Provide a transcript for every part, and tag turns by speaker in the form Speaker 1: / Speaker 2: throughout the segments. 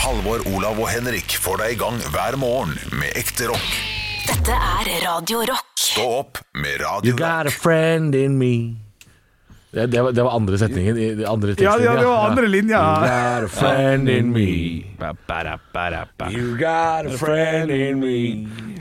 Speaker 1: Halvor, Olav og Henrik får deg i gang hver morgen med ekte rock.
Speaker 2: Dette er Radio Rock.
Speaker 1: Stå opp med
Speaker 3: You
Speaker 1: Radio
Speaker 3: got a
Speaker 1: Rock.
Speaker 3: friend in me det, det, var, det var andre setningen i- i andre tekstlinja.
Speaker 4: ja, det var andre linja.
Speaker 3: You got a friend in me
Speaker 4: Ba, ba, da, ba, da, ba.
Speaker 3: You got a friend in me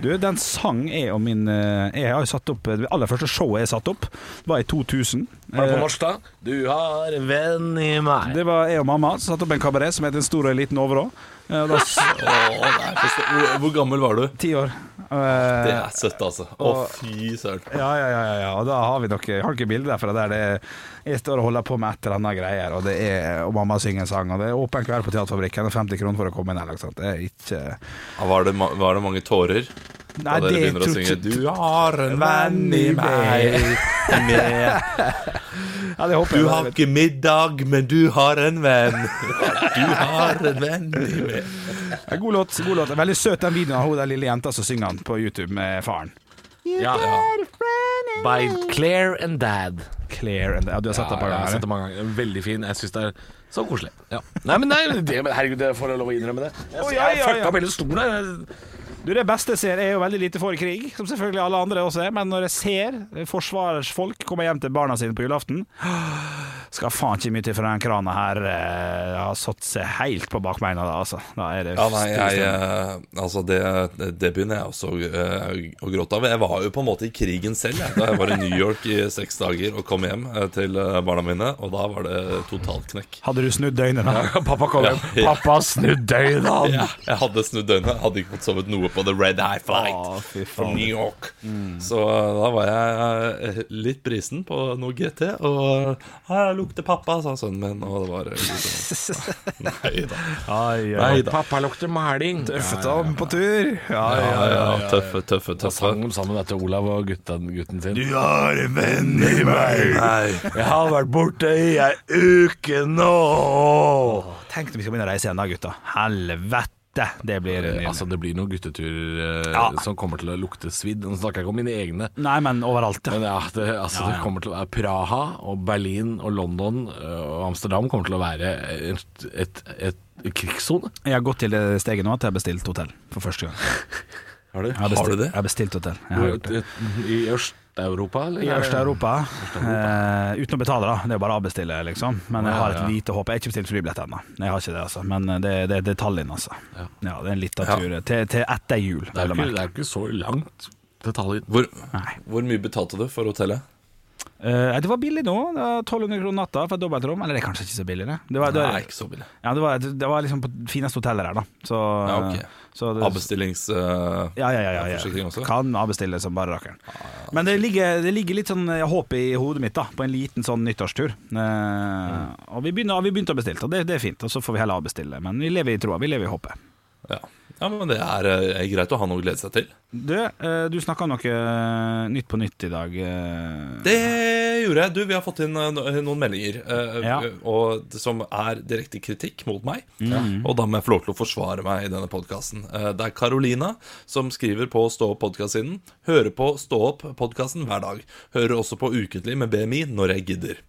Speaker 4: Du, den sang jeg og min eh, Jeg har jo satt opp Det aller første showet jeg satt opp, var i 2000.
Speaker 3: Var det
Speaker 4: Eh,
Speaker 3: på norsk da? Du har en venn i meg
Speaker 4: Det var jeg og mamma som satte opp en kabaret som het En stor og en liten overå. Eh, Da s-
Speaker 5: Hvor, hvor gammel var du?
Speaker 4: ti år.
Speaker 5: Det
Speaker 4: Eh,
Speaker 5: er søtt, altså. Å,
Speaker 4: og-
Speaker 5: fy søren.
Speaker 4: Ja, ja, ja, ja, ja. Og da har vi noe Jeg har ikke bilde derfra der det er, jeg står og holder på med et eller annet greier, og, det er, eh, og mamma synger en sang, og det er åpen kveld på Teaterfabrikken, og 50 kroner for å komme inn her. Ikke sant? Det er ikke
Speaker 5: Ja, Var det, ma- var det mange tårer da
Speaker 4: Nei,
Speaker 5: dere
Speaker 4: det
Speaker 5: begynner å
Speaker 4: tror
Speaker 5: synge
Speaker 4: ikke-
Speaker 5: 'Du har en venn i meg'? med.
Speaker 4: Ja, det håper
Speaker 5: Du
Speaker 4: jeg.
Speaker 5: har ikke middag, men du har en venn. Du har en venn i meg.
Speaker 4: Ja, God låt. god låt Veldig søt den videoen av hun der lille jenta som synger den på YouTube med faren.
Speaker 3: ja. By Claire and Dad altså.
Speaker 4: Claire and Ja, du har sett den på
Speaker 3: jeg har sett
Speaker 4: gang.
Speaker 3: det mange ganger Veldig fin, jeg synes det er så koselig ja. Nei, men nei, det, men herregud, jeg får lov å innrømme det Jeg,
Speaker 4: Å,
Speaker 3: jeg,
Speaker 4: ja, ja, ja.
Speaker 3: fucka opp hele stolen her
Speaker 4: Du, det beste jeg ser, er jo veldig lite for krig, som selvfølgelig alle andre også er, men når jeg ser forsvarsfolk komme hjem til barna sine på julaften Skal faen ikke mye til for den krana her eh, har satt seg helt på bakbeina, da, altså. Da er det
Speaker 5: Ja, nei, jeg, eh, altså det, det begynner jeg også eh, å gråte av. Jeg var jo på en måte i krigen selv jeg, da jeg var i New York i seks dager og kom hjem eh, til eh, barna mine, og da var det totalknekk.
Speaker 4: Hadde du snudd døgnet, da? Pappa kom
Speaker 5: Ja,
Speaker 4: hjem.
Speaker 5: ja,
Speaker 3: Pappa snudde øynene
Speaker 5: ja, jeg hadde snudd døgnet, hadde ikke fått sovet noe på The Red Eye Flight fra New York. Så eh, da var jeg eh, litt brisen på noe GT, og eh, jeg lukter pappa, sa sønnen min, og det var eh, Nei da.
Speaker 4: Ai, ai,
Speaker 5: Nei da.
Speaker 3: Pappa lukter maling
Speaker 4: Føttom på tur. Ja,
Speaker 5: Ja,
Speaker 4: ja.
Speaker 5: ja, ja, tøffe, tøffe,
Speaker 3: Da
Speaker 5: tøffe.
Speaker 3: sang de sammen dette Olav og gutten, gutten sin
Speaker 5: Du har en venn i meg. Nei.
Speaker 3: Jeg har vært borte i ei uke nå.
Speaker 4: Tenk når vi skal begynne å reise igjen da, gutta. Helvete, det blir en
Speaker 3: Altså, det blir noen gutteturer eh,
Speaker 4: Ja.
Speaker 3: som kommer til å lukte svidd. Nå snakker jeg ikke om mine egne.
Speaker 4: Nei, men overalt, ja.
Speaker 3: Men ja, det, altså, det kommer til å være Praha og Berlin og London eh, og Amsterdam kommer til å være et, et, et, krigssone.
Speaker 4: Jeg har gått til det steget nå at jeg har bestilt hotell for første gang.
Speaker 5: Har du,
Speaker 4: Jeg har
Speaker 5: har du
Speaker 4: bestilt,
Speaker 5: det?
Speaker 4: Jeg har bestilt hotell. Jeg har gjort det.
Speaker 3: I Øst-Europa, eller?
Speaker 4: I Øst-Europa. eh, uten å betale, da. Det er jo bare å avbestille, liksom. Men jeg har et
Speaker 3: Ja, ja.
Speaker 4: lite håp. Jeg har ikke bestilt flybillett ennå. Jeg har ikke det, altså. Men det, det, det er Tallinn, altså. Ja. det er en liten tur eh, til, til etter jul.
Speaker 3: Det er
Speaker 4: vel
Speaker 3: jo
Speaker 4: å
Speaker 3: ikke,
Speaker 4: merke.
Speaker 3: det er ikke så langt til Tallinn.
Speaker 5: Hvor,
Speaker 4: Nei.
Speaker 5: hvor mye betalte du for hotellet?
Speaker 4: Eh, det var billig nå. Det var 1200 kroner natta for et dobbeltrom. Eller det er kanskje ikke så billig, det. Det var, det var,
Speaker 5: Nei, ikke så billig.
Speaker 4: ja, det var, det var liksom på fineste hotellet her, da. Så,
Speaker 5: Ja, ok.
Speaker 4: så det,
Speaker 5: Avbestillings... eh,
Speaker 4: Ja, ja, ja, ja, ja.
Speaker 5: Forsikring også?
Speaker 4: Kan avbestille som bare rakkeren. Men det ligger, det ligger litt sånn eh, håp i hodet mitt da på en liten sånn nyttårstur. Eh,
Speaker 5: Mm.
Speaker 4: Og vi begynner, har vi begynt å bestille, og det, det er fint. Og så får vi heller avbestille. Men vi lever i troa, vi lever i håpet.
Speaker 5: ja. ja, men det er eh, greit å ha noe å glede seg til.
Speaker 4: Du, eh, du snakka om noe eh, Nytt på nytt i dag. eh.
Speaker 5: Det gjorde jeg. Du, vi har fått inn eh, no- noen meldinger eh,
Speaker 4: Ja.
Speaker 5: eh, og, det som er direkte kritikk mot meg. Og da må jeg få lov til å forsvare meg i denne podkasten. det er Carolina som skriver på Stå opp-podkast-siden. Hører på Stå opp-podkasten hver dag. Hører også på Ukentlig med BMI når jeg gidder.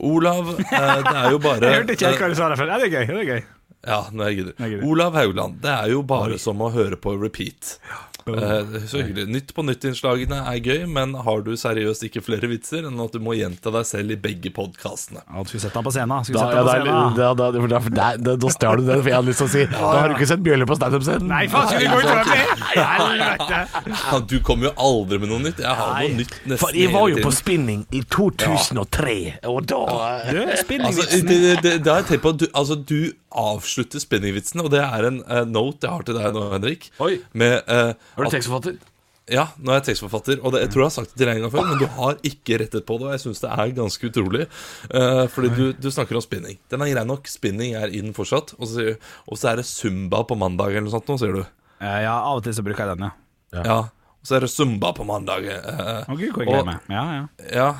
Speaker 5: Olav, eh, det er jo bare
Speaker 4: Jeg hørte ikke helt hva du sa der før. Ja, det er gøy. det er gøy
Speaker 5: Ja, når jeg
Speaker 4: Når jeg
Speaker 5: gidder.
Speaker 4: gidder.
Speaker 5: Olav Haugland, det er jo bare som å høre på repeat. Eh, så hyggelig. Nytt på nytt-innslagene er gøy, men har du seriøst ikke flere vitser enn at du må gjenta deg selv i begge podkastene?
Speaker 4: Ja, Skal vi sette han på scenen? Skal vi
Speaker 3: Da,
Speaker 4: sette
Speaker 3: ja,
Speaker 4: han på
Speaker 3: da,
Speaker 4: scenen?
Speaker 3: da, da, da, da, da, da, da stjal du den, for jeg hadde lyst til å si Da har du ikke sett Bjølle på standup-scenen.
Speaker 4: Nei, faen, skal vi gå utover det? Helvete.
Speaker 5: Ja, Du kommer jo aldri med noe nytt. Jeg har noe nytt nesten
Speaker 3: For jeg var
Speaker 5: hele
Speaker 3: jo på
Speaker 5: tiden.
Speaker 3: spinning i 2003, og da
Speaker 4: Du,
Speaker 5: Altså,
Speaker 4: spinningvitsen.
Speaker 5: det, det, det, det har jeg tenkt på du, altså, du avslutter spinningvitsen, og det er en eh, note jeg har til deg nå, Henrik.
Speaker 3: Oi.
Speaker 5: Med, eh,
Speaker 3: Er
Speaker 5: at-
Speaker 3: du tekstforfatter?
Speaker 5: Ja, nå er jeg tekstforfatter, og det, jeg tror jeg har sagt det til deg en gang før, men du har ikke rettet på det, og jeg syns det er ganske utrolig. eh, fordi du, du snakker om spinning. Den er grei nok, spinning er in fortsatt. Og så, sier du- og så er det zumba på mandag eller noe sånt nå, sier du.
Speaker 4: Eh, Ja, av og til så bruker jeg den, ja.
Speaker 5: Ja. Og så er det zumba på mandag. eh,
Speaker 4: Å, Gud, hvor jeg gleder
Speaker 5: Og-
Speaker 4: meg. Ja, ja.
Speaker 5: ja.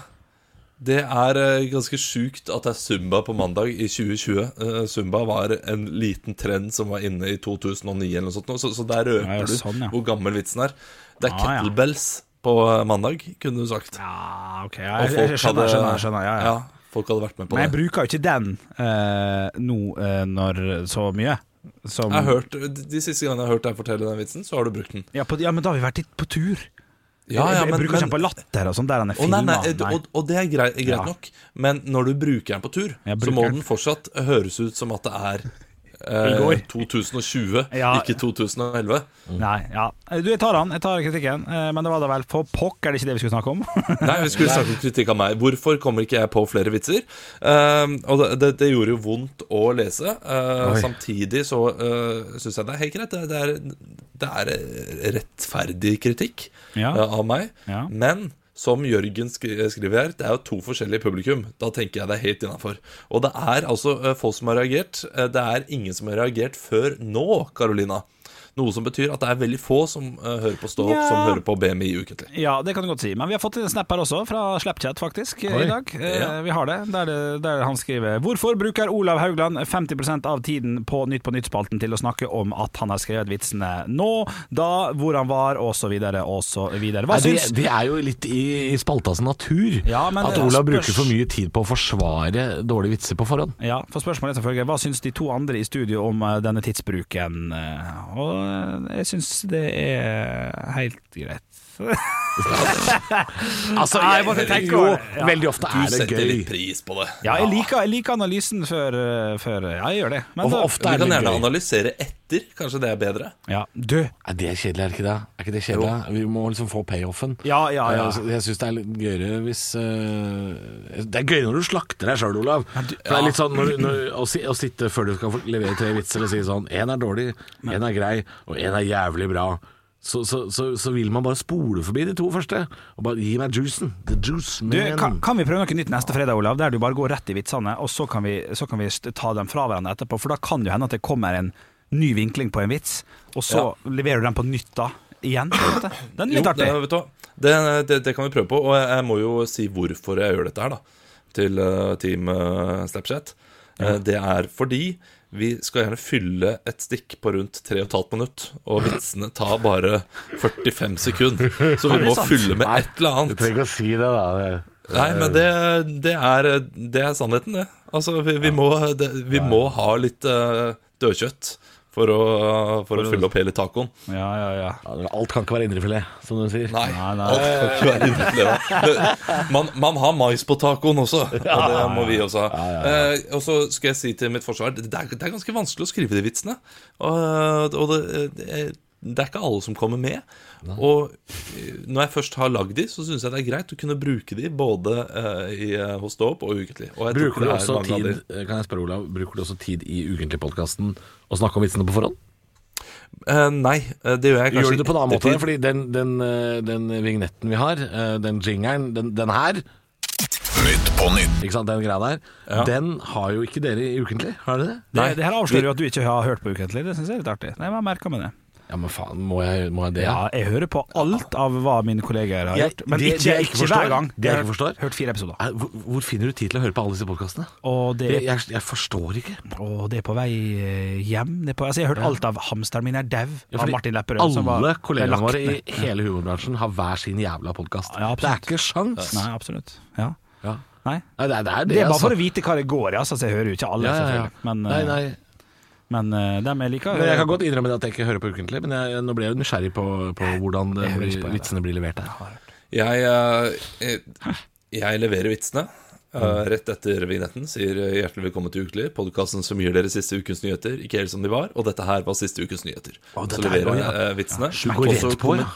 Speaker 5: Det er eh, ganske sjukt at det er zumba på mandag i 2020. Eh, zumba var en liten trend som var inne i 2009 eller noe sånt, nå, så, så der røper
Speaker 4: Ja, ja,
Speaker 5: du
Speaker 4: sånn, ja.
Speaker 5: hvor gammel vitsen er. Det
Speaker 4: Ah,
Speaker 5: er
Speaker 4: ja.
Speaker 5: kettlebells på eh, mandag, kunne du sagt.
Speaker 4: Ja, ok. Ja,
Speaker 5: Og
Speaker 4: jeg,
Speaker 5: folk
Speaker 4: jeg skjønner,
Speaker 5: hadde,
Speaker 4: skjønner, skjønner. Ja, ja.
Speaker 5: folk hadde vært med på
Speaker 4: Men jeg
Speaker 5: det.
Speaker 4: bruker jo ikke den eh, nå eh, når så mye. som
Speaker 5: Jeg har hørt, de siste gangene jeg har hørt deg fortelle den vitsen, så har du brukt den.
Speaker 4: ja, på, ja, men da har vi vært litt på tur.
Speaker 5: Ja, ja,
Speaker 4: jeg, jeg
Speaker 5: men-
Speaker 4: bruker ikke
Speaker 5: men-
Speaker 4: den på latter og sånn, der han er
Speaker 5: Å, nei,
Speaker 4: filma.
Speaker 5: nei, og, og det er greit,
Speaker 4: Ja.
Speaker 5: greit nok, men når du bruker den på tur,
Speaker 4: Jeg
Speaker 5: så
Speaker 4: bruker
Speaker 5: må
Speaker 4: den.
Speaker 5: den fortsatt høres ut som at det er
Speaker 4: I
Speaker 5: eh,
Speaker 4: går.
Speaker 5: 2020,
Speaker 4: Ja.
Speaker 5: ikke 2011.
Speaker 4: Nei, ja. Eh, Du, jeg tar han, jeg tar kritikken, eh, men det var da vel på pokker det ikke det vi skulle snakke om.
Speaker 5: Nei, vi skulle snakke om kritikk av meg. Hvorfor kommer ikke jeg på flere vitser? Ehm, og det, det, det gjorde jo vondt å lese. Eh,
Speaker 3: Oi.
Speaker 5: samtidig så uh, syns jeg det er helt greit. Det, det, er, det er eh, rettferdig kritikk
Speaker 4: Ja.
Speaker 5: eh, av meg.
Speaker 4: Ja.
Speaker 5: Men som Jørgen skri eh, skriver her, det er jo to forskjellige publikum. Da tenker jeg det er helt innafor. Og det er altså eh, få som har reagert. Eh, det er ingen som har reagert før nå, Carolina. Noe som betyr at det er veldig få som eh, hører på Stå opp, som
Speaker 4: Ja.
Speaker 5: hører på BMI ukentlig.
Speaker 4: Ja, det kan du godt si. Men vi har fått en snap her også, fra Snapchat faktisk,
Speaker 3: Oi.
Speaker 4: i dag. Eh,
Speaker 5: Ja.
Speaker 4: Vi har det, der, det- der han skriver Hvorfor bruker Olav Haugland 50 av tiden på Nytt på Nytt-spalten til å snakke om at han har skrevet vitsene nå, da, hvor han var, osv., osv. Hva
Speaker 3: Nei, det,
Speaker 4: syns
Speaker 3: det er jo litt i, i spaltas natur
Speaker 4: Ja, men
Speaker 3: at
Speaker 4: det-
Speaker 3: Olav
Speaker 4: spørs-
Speaker 3: bruker for mye tid på å forsvare dårlige vitser på forhånd.
Speaker 4: ja, for spørsmålet er selvfølgelig Hva syns de to andre i studio om eh, denne tidsbruken? Eh, Og eh, jeg syns det er helt greit.
Speaker 3: Altså,
Speaker 4: Mm. Nei, jeg bare tenker
Speaker 3: jo,
Speaker 4: over det. Ja.
Speaker 3: veldig ofte
Speaker 5: Du
Speaker 3: er det
Speaker 5: setter
Speaker 3: gøy.
Speaker 5: litt pris på det.
Speaker 4: Ja, jeg liker, jeg liker analysen før, eh, før Ja, jeg gjør det. Men
Speaker 3: Og
Speaker 4: da-
Speaker 3: ofte
Speaker 5: Vi
Speaker 3: er det
Speaker 5: kan
Speaker 3: litt
Speaker 5: gjerne
Speaker 3: gøy.
Speaker 5: analysere etter. Kanskje det er bedre?
Speaker 4: ja, du.
Speaker 3: Nei, det er kjedelig, er det ikke det? Er ikke det kjedelig? Vi må liksom få payoffen.
Speaker 4: Ja, ja, ja.
Speaker 3: Eh, så Jeg syns det er litt gøyere hvis eh, Det er gøyere når du slakter deg sjøl, Olav. For det er litt sånn når, når, å, si, å sitte før du skal få levere tre vitser og si sånn Én er dårlig, én er grei, og én er jævlig bra. Så, så, så, så vil man bare spole forbi de to første. Og bare gi meg juicen. The juice,
Speaker 4: Du,
Speaker 3: man.
Speaker 4: kan, kan vi prøve noe nytt neste fredag, Olav? Der du bare går rett i vitsene, og så kan vi, så kan vi st- ta dem fra hverandre etterpå. For da kan det jo hende at det kommer en ny vinkling på en vits, og så leverer du den på nytt da. Igjen. på en måte. Den er
Speaker 5: Jo,
Speaker 4: litt
Speaker 5: det,
Speaker 4: artig.
Speaker 5: vet du, hva? det, det, det kan vi prøve på. Og jeg, jeg må jo si hvorfor jeg gjør dette her, da. Til eh, Team eh, Snapchat. Eh, Det er fordi vi skal gjerne fylle et stikk på rundt 3,5 minutt. Og vitsene tar bare 45 sekunder. Så vi må fylle med et eller
Speaker 3: Du
Speaker 5: annet.
Speaker 3: trenger ikke å si det, da.
Speaker 5: Nei, men det, det, er, det er sannheten, det. Altså, vi, vi, må, det, vi må ha litt eh, dødkjøtt for å, for å fylle opp hele tacoen.
Speaker 4: Ja, ja, ja.
Speaker 3: Alt kan ikke være indrefilet, som du sier.
Speaker 5: Nei,
Speaker 4: Nei, nei.
Speaker 5: alt kan
Speaker 3: Eh.
Speaker 5: ikke være indrefilet. Man, man har mais på tacoen også, og det må vi også ha. Eh, og så skal jeg si til mitt forsvar det er, det er ganske vanskelig å skrive de vitsene. Og, og det, det, er, det er ikke alle som kommer med. Og eh, når jeg først har lagd de, så syns jeg det er greit å kunne bruke de både eh, i, eh, hos Stå opp og ukentlig. Og jeg tror
Speaker 3: Bruker du
Speaker 5: det er
Speaker 3: også
Speaker 5: mange av
Speaker 3: tid eh,
Speaker 5: de-
Speaker 3: Kan jeg spørre Olav, bruker du også tid i ukentlig-podkasten å snakke om vitsene på forhånd?
Speaker 5: Eh, nei, eh, det gjør jeg kanskje
Speaker 3: Gjør du det på en annen måte?
Speaker 5: ettertid.
Speaker 3: Fordi den, den, eh, den vignetten vi har, eh, den jingeren, den, den her,
Speaker 1: Nytt på nytt.
Speaker 3: ikke sant, den greia der, den har jo ikke dere i ukentlig, har dere det?
Speaker 4: Det, det her avslører jo at du ikke har hørt på Ukentlig. Det syns jeg er litt artig. Nei, men jeg merker meg det.
Speaker 3: Ja, men faen, må jeg, må jeg det?
Speaker 4: Ja, jeg hører på alt av hva mine kolleger har
Speaker 3: Jeg-
Speaker 4: gjort, men
Speaker 3: det- det
Speaker 4: ikke,
Speaker 3: jeg ikke
Speaker 4: ikke
Speaker 3: forstår-
Speaker 4: hver gang.
Speaker 3: det jeg ikke
Speaker 4: har
Speaker 3: forstår-
Speaker 4: Hørt fire episoder.
Speaker 3: Er- Eh, Hvor, hvor finner du tid til å høre på alle disse podkastene?
Speaker 4: Og det,
Speaker 3: Jeg, jeg, jeg forstår ikke.
Speaker 4: og det er på vei eh, hjem. Det er på, altså, jeg har hørt alt av 'Hamsteren min er dau'
Speaker 3: Ja,
Speaker 4: av
Speaker 3: fordi
Speaker 4: Martin Lepperød. som var-
Speaker 3: Alle
Speaker 4: ble
Speaker 3: kollegene
Speaker 4: lagt
Speaker 3: våre i
Speaker 4: ned.
Speaker 3: hele humorbransjen har hver sin jævla podkast.
Speaker 4: Ja, absolutt.
Speaker 3: det er ikke sjans!
Speaker 4: Nei, absolutt. Ja.
Speaker 3: Ja.
Speaker 4: Nei.
Speaker 3: Nei, det er det, er
Speaker 4: Det er bare
Speaker 3: altså.
Speaker 4: for å vite hva det går i, altså, så jeg hører jo ikke alle,
Speaker 3: ja, ja, ja.
Speaker 4: selvfølgelig. Men,
Speaker 3: nei, nei.
Speaker 4: eh, men eh, dem jeg liker
Speaker 3: Men jeg kan godt innrømme at jeg ikke hører på ukentlig, men jeg, nå ble jeg nysgjerrig på, på hvordan det,
Speaker 4: hører ikke på det.
Speaker 3: vitsene blir levert der.
Speaker 5: Jeg, eh, jeg, jeg leverer vitsene
Speaker 3: Mm.
Speaker 5: eh, rett etter vignetten. Sier eh, hjertelig velkommen til Ukelig, podkasten som gir dere siste ukens nyheter. Ikke helt som de var, og dette her var siste ukens nyheter.
Speaker 3: dette
Speaker 5: så
Speaker 3: er
Speaker 5: leverer
Speaker 3: bra,
Speaker 5: jeg
Speaker 3: ja.
Speaker 5: eh, vitsene.
Speaker 3: du går
Speaker 5: og
Speaker 3: rett
Speaker 5: så
Speaker 3: på, ja.
Speaker 5: kommen-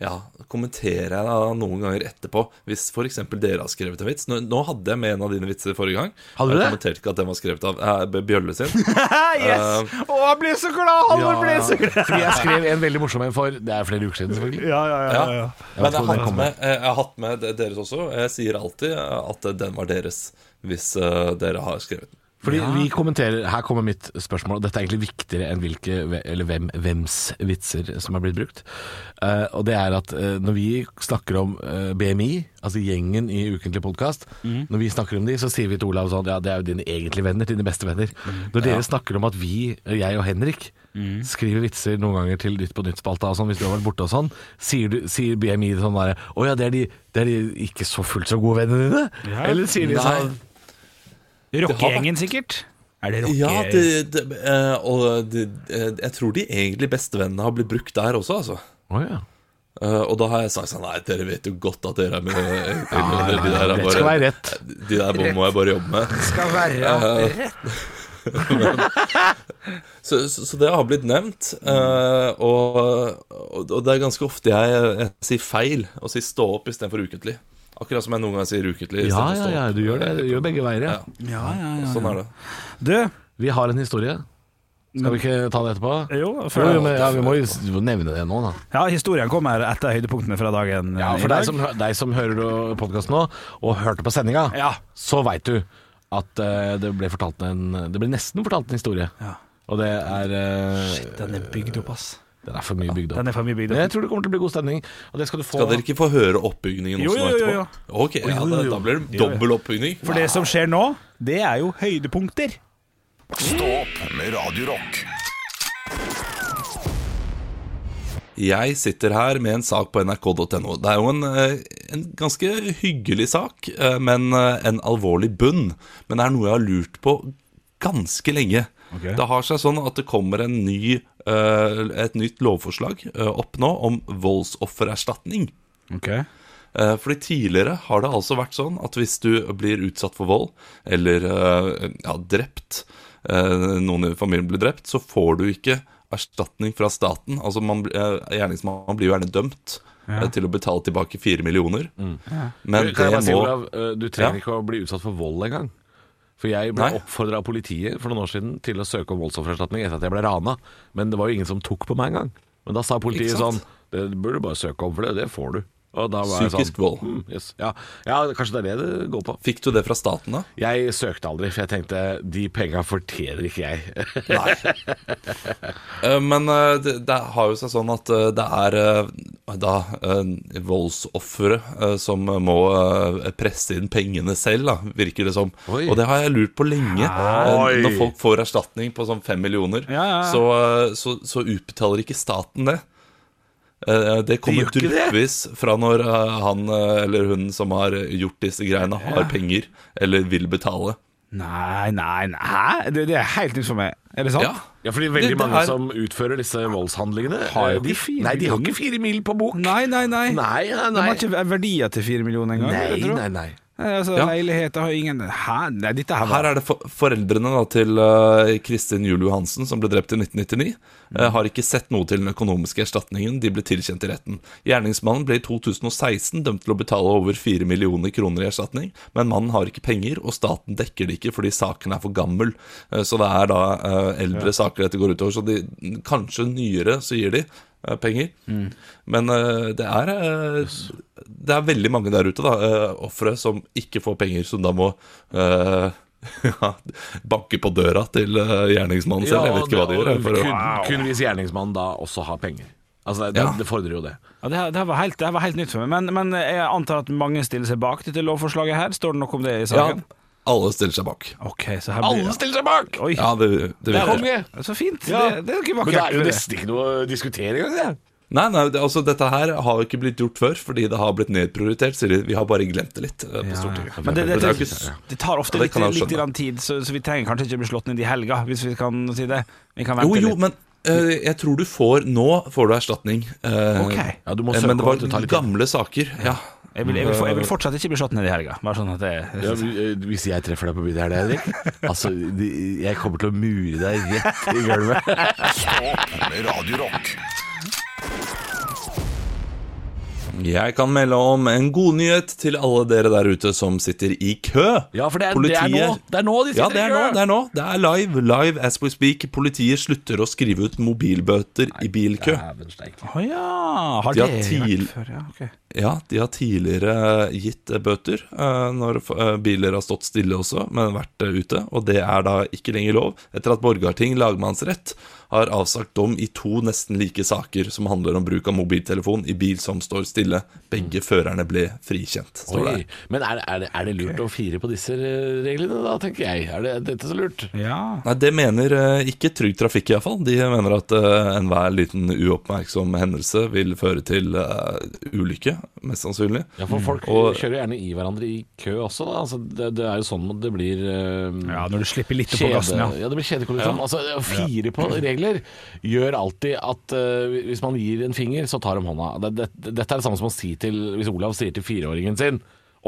Speaker 5: ja, kommenterer jeg da noen ganger etterpå, hvis f.eks. dere har skrevet en vits. Nå, nå hadde jeg med en av dine vitser forrige gang.
Speaker 3: Hadde du
Speaker 5: jeg
Speaker 3: det?
Speaker 5: kommenterte ikke at den var skrevet av eh, B- Bjølle sin.
Speaker 4: yes!
Speaker 3: Eh,
Speaker 4: Å, jeg blir så glad! Halvor blir så glad!
Speaker 3: Fordi jeg skrev en veldig morsom en for Det er flere uker siden, selvfølgelig.
Speaker 4: Ja, ja, ja.
Speaker 5: Ja.
Speaker 4: ja, ja.
Speaker 5: Men jeg
Speaker 3: tror den
Speaker 5: har, hatt
Speaker 3: kommer.
Speaker 5: med, eh, jeg har hatt med de- deres også. Jeg sier alltid eh, at den var deres, hvis eh, dere har skrevet den.
Speaker 3: Fordi vi kommenterer Her kommer mitt spørsmål, og dette er egentlig viktigere enn hvilke, eller hvem, hvems vitser som er blitt brukt. Eh, og det er at eh, når vi snakker om eh, BMI, altså gjengen i ukentlig podkast,
Speaker 5: Mhm.
Speaker 3: når vi snakker om de, så sier vi til Olav sånn Ja, det er jo dine egentlige venner, dine beste venner.
Speaker 5: Mhm.
Speaker 3: Når dere snakker om at vi, jeg og Henrik, skriver vitser noen ganger til Nytt på Nytt-spalta og sånn, hvis du har vært borte og sånn, sier, du, sier BMI sånn derre Å ja, det er de det er de ikke så fullt så gode vennene dine? Eller sier de
Speaker 5: Nei.
Speaker 3: sånn
Speaker 4: Rockegjengen, sikkert. Er det rocke...
Speaker 5: Ja, det, det, eh, og det, eh, jeg tror de egentlig bestevennene har blitt brukt der også, altså.
Speaker 3: Å ja.
Speaker 5: Eh, og da har jeg sagt sånn Nei, dere vet jo godt at dere er mine
Speaker 3: ja,
Speaker 5: de der er
Speaker 3: rett
Speaker 5: bare-
Speaker 3: skal være rett.
Speaker 5: De der må- må jeg bare jobbe med. Eh,
Speaker 4: skal være rett.
Speaker 5: Så, så, så det har blitt nevnt, eh, og, og, og det er ganske ofte jeg, jeg sier feil og sier stå opp istedenfor ukentlig. Akkurat som jeg noen ganger sier ukentlig. i stedet
Speaker 3: Ja,
Speaker 5: for
Speaker 3: ja,
Speaker 5: stå
Speaker 3: ja,
Speaker 5: opp.
Speaker 3: du gjør det. Du gjør begge veier, ja.
Speaker 5: Ja.
Speaker 4: Ja, ja, ja.
Speaker 5: Sånn er det.
Speaker 4: Du,
Speaker 3: Vi har en historie. Skal vi ikke ta det etterpå?
Speaker 4: jo,
Speaker 3: Jo,
Speaker 4: før,
Speaker 3: jo, men, Mm. ja, vi må jo s- vi må nevne det nå, da.
Speaker 4: ja, historien kommer etter høydepunktene fra dagen. eh,
Speaker 3: Ja,
Speaker 4: i
Speaker 3: for
Speaker 4: dag.
Speaker 3: deg som, hø- deg som hører podkasten nå, og hørte på sendinga,
Speaker 4: Ja.
Speaker 3: så veit du at eh, det ble fortalt en Det ble nesten fortalt en historie.
Speaker 4: Ja.
Speaker 3: Og det er eh,
Speaker 4: Shit, den er bygd opp, ass.
Speaker 3: Den er for mye bygd opp.
Speaker 4: Den er for mye bygd
Speaker 3: Men
Speaker 4: opp.
Speaker 3: jeg tror det kommer til å bli god stemning. Og det skal du få.
Speaker 5: Skal dere ikke få høre oppbygningen
Speaker 4: Jo,
Speaker 5: også nå
Speaker 4: jo, jo,
Speaker 5: etterpå?
Speaker 4: jo.
Speaker 5: Ok, ja, da, da blir det dobbel oppbygning.
Speaker 4: For det som skjer nå, det er jo høydepunkter.
Speaker 1: Stå opp med Radio Rock.
Speaker 5: Jeg sitter her med en sak på nrk.no. Det er jo en, eh, en ganske hyggelig sak, eh, men eh, en alvorlig bunn. Men det er noe jeg har lurt på ganske lenge.
Speaker 4: Ok.
Speaker 5: Det har seg sånn at det kommer en ny, eh, et nytt lovforslag eh, opp nå om voldsoffererstatning. Eh, Fordi tidligere har det altså vært sånn at hvis du blir utsatt for vold, eller eh, ja, drept, eh, noen i familien blir drept, så får du ikke erstatning fra staten. Altså man, blir- eh, Gjerningsmannen blir jo gjerne dømt eh, til å betale tilbake fire millioner. Men
Speaker 3: Mm. Kan jeg
Speaker 5: det
Speaker 3: bare si,
Speaker 5: må
Speaker 3: Olav, eh, du trenger
Speaker 5: Ja.
Speaker 3: ikke å bli utsatt for vold engang. For jeg ble
Speaker 5: Nei.
Speaker 3: oppfordra av politiet for noen år siden til å søke om voldsoffererstatning etter at jeg ble rana, men det var jo ingen som tok på meg engang. Men da sa politiet
Speaker 5: Ikke
Speaker 3: sånn
Speaker 5: sant?
Speaker 3: Det burde du bare søke om, for det, det får du. Og da var jeg
Speaker 5: Psykisk
Speaker 3: sånn,
Speaker 5: vold.
Speaker 3: «Hm, yes. ja. ja, kanskje det er det det går på.
Speaker 5: Fikk du det fra staten, da?
Speaker 3: Jeg søkte aldri, for jeg tenkte de penga fortjener ikke jeg.
Speaker 5: Nei. Eh, Men eh, det, det har jo seg sånn at eh, det er eh, da eh, voldsoffere eh, som må eh, presse inn pengene selv, da, virker det som.
Speaker 3: Oi.
Speaker 5: Og det har jeg lurt på lenge. Eh,
Speaker 3: Oi.
Speaker 5: Når folk får erstatning på sånn fem millioner,
Speaker 4: Ja, ja, ja.
Speaker 5: Så, eh, så, så utbetaler ikke staten det. Eh, Det kommer
Speaker 3: gjør ikke det.
Speaker 5: dryppvis fra når eh, han eh, eller hun som har gjort disse greiene, har penger eller vil betale.
Speaker 4: Nei, nei, nei. Hæ? Det, det er helt nytt for meg. Er det sant?
Speaker 5: Ja.
Speaker 3: Ja, fordi
Speaker 5: Det-
Speaker 3: veldig
Speaker 5: det
Speaker 3: mange
Speaker 5: er-
Speaker 3: som utfører disse voldshandlingene
Speaker 4: Har
Speaker 3: eh,
Speaker 4: jo
Speaker 3: de,
Speaker 4: ikke fire
Speaker 3: Nei, de har
Speaker 4: millioner.
Speaker 3: ikke fire mil på bok.
Speaker 4: Nei, nei, nei.
Speaker 3: Nei, nei,
Speaker 4: De
Speaker 3: nei.
Speaker 4: har ikke verdier til fire millioner engang.
Speaker 3: Nei,
Speaker 4: jeg tror.
Speaker 3: nei, nei.
Speaker 4: Nei, Altså,
Speaker 5: Ja.
Speaker 4: Leiligheter har ingen Hæ? Nei, dette her var
Speaker 5: Her er det for foreldrene da, til eh, Kristin Juel Johansen, som ble drept i 1999, eh, har ikke sett noe til den økonomiske erstatningen de ble tilkjent i retten. Gjerningsmannen ble i 2016 dømt til å betale over 4 millioner kroner i erstatning, men mannen har ikke penger, og staten dekker det ikke fordi saken er for gammel. Eh, Så det er da eh, eldre saker dette går utover, så de, kanskje nyere, så gir de eh, penger. Men eh, det er eh, Det er veldig mange der ute, da, eh, ofre som ikke får penger, som da må eh, ja, banke på døra til eh, gjerningsmannen selv. Jeg vet ikke hva de gjør. jeg, For
Speaker 3: kun,
Speaker 5: å,
Speaker 3: kun hvis gjerningsmannen da også har penger. Altså, det,
Speaker 5: Ja.
Speaker 3: det fordrer jo det.
Speaker 4: Ja, det, her, det, her var helt, det her var helt nytt for meg. Men, men jeg antar at mange stiller seg bak dette lovforslaget her. Står det noe om det i
Speaker 5: ja,
Speaker 4: saken?
Speaker 5: alle stiller seg bak.
Speaker 4: Ok, så her blir
Speaker 3: Alle stiller seg bak!
Speaker 4: Oi,
Speaker 5: Ja, det, det
Speaker 3: Det er
Speaker 5: vet jeg.
Speaker 3: konge!
Speaker 4: så fint.
Speaker 3: Ja.
Speaker 4: Det, det er jo ikke
Speaker 3: Men det er
Speaker 4: vakkert.
Speaker 3: jo
Speaker 4: med
Speaker 3: nesten ikke noe å diskutere engang, det.
Speaker 5: Nei, nei, det, altså, dette her har jo ikke blitt gjort før, fordi det har blitt nedprioritert. Sier de. Vi har bare glemt det litt eh, på Stortinget.
Speaker 4: Men det, det,
Speaker 5: For
Speaker 4: det,
Speaker 5: er jo ikke-
Speaker 4: det tar ofte
Speaker 5: Ja, det
Speaker 4: litt,
Speaker 5: kan jeg
Speaker 4: litt
Speaker 5: skjønne.
Speaker 4: grann tid, så, så vi trenger kanskje ikke bli slått ned i helga, hvis vi kan si det. Vi kan vente
Speaker 5: jo, jo,
Speaker 4: litt.
Speaker 5: men eh, jeg tror du får Nå får du erstatning. Eh,
Speaker 4: Ok.
Speaker 3: Ja, du må
Speaker 5: eh,
Speaker 3: søke
Speaker 5: men det
Speaker 3: om at det tar
Speaker 5: var
Speaker 3: litt tid.
Speaker 5: gamle saker. Ja.
Speaker 4: Jeg vil, jeg, vil, få- jeg vil fortsatt ikke bli slått ned i helga. Bare sånn at det
Speaker 3: Ja, vi- eh, hvis jeg treffer deg på byen her, det, Henrik Altså, de- jeg kommer til å mure deg rett i gulvet.
Speaker 1: Stå opp med Radio Rock.
Speaker 5: Jeg kan melde om en god nyhet til alle dere der ute som sitter i kø.
Speaker 3: Ja, for det er, det er nå. Det er nå de
Speaker 5: Ja,
Speaker 3: sitter
Speaker 5: det er nå. Det er nå Det er live. Live as we speak. Politiet slutter å skrive ut mobilbøter i bilkø.
Speaker 4: Å ja! Har
Speaker 5: De
Speaker 4: det
Speaker 5: har til-
Speaker 4: vært før? Ja, ok.
Speaker 5: Ja, de har tidligere gitt bøter eh, når eh, biler har stått stille også, men vært eh, ute, og det er da ikke lenger lov, etter at Borgarting lagmannsrett har avsagt dom i to nesten like saker som handler om bruk av mobiltelefon i bil som står stille. Begge førerne ble frikjent, står det.
Speaker 3: Oi. Men er, er, det, er det lurt å fire på disse eh, reglene, da, tenker jeg. Er det, er dette så lurt?
Speaker 4: Ja.
Speaker 5: Nei, det mener eh, ikke Trygg Trafikk iallfall. De mener at eh, enhver liten uoppmerksom hendelse vil føre til eh, ulykke, mest sannsynlig.
Speaker 3: Ja, for folk
Speaker 5: Mm. Og-
Speaker 3: kjører gjerne i hverandre i kø også, da. Altså, det, det er jo sånn at det blir eh,
Speaker 4: Ja, når du slipper litt på
Speaker 3: Kjede,
Speaker 4: gassen, ja.
Speaker 3: det blir kjedekollisjon. Altså, å fire på regler gjør alltid at eh, hvis man gir en finger, så tar de hånda. Det, det, dette er det samme som å si til Hvis Olav sier til fireåringen sin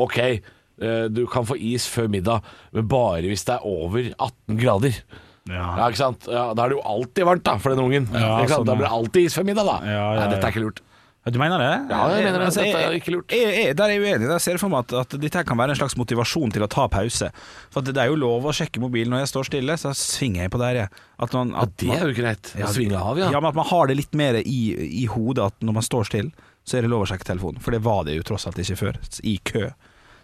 Speaker 3: OK, eh, du kan få is før middag, men bare hvis det er over 18 grader.
Speaker 4: Ja.
Speaker 3: Ja, ikke sant? Ja, da er det jo alltid varmt da, for den ungen.
Speaker 4: Ja,
Speaker 3: ikke sant?
Speaker 4: sånn,
Speaker 3: Da
Speaker 4: ja.
Speaker 3: blir det alltid is før middag, da.
Speaker 4: Ja, ja,
Speaker 3: Nei,
Speaker 4: ja.
Speaker 3: dette er ikke lurt.
Speaker 4: Du mener det?
Speaker 3: Ja, jeg mener det.
Speaker 4: Altså,
Speaker 3: Dette er ikke lurt.
Speaker 4: Jeg, jeg, der er jeg uenig. Der ser jeg for meg at, at dette her kan være en slags motivasjon til å ta pause. For at Det er jo lov å sjekke mobilen når jeg står stille, så svinger jeg på der, jeg. At man, at
Speaker 3: Det er jo greit. Å svinge av, ja.
Speaker 4: ja, men at man har det litt mer i, i hodet at når man står stille, så er det lov å sjekke telefonen. For det var det jo tross alt ikke før. I kø.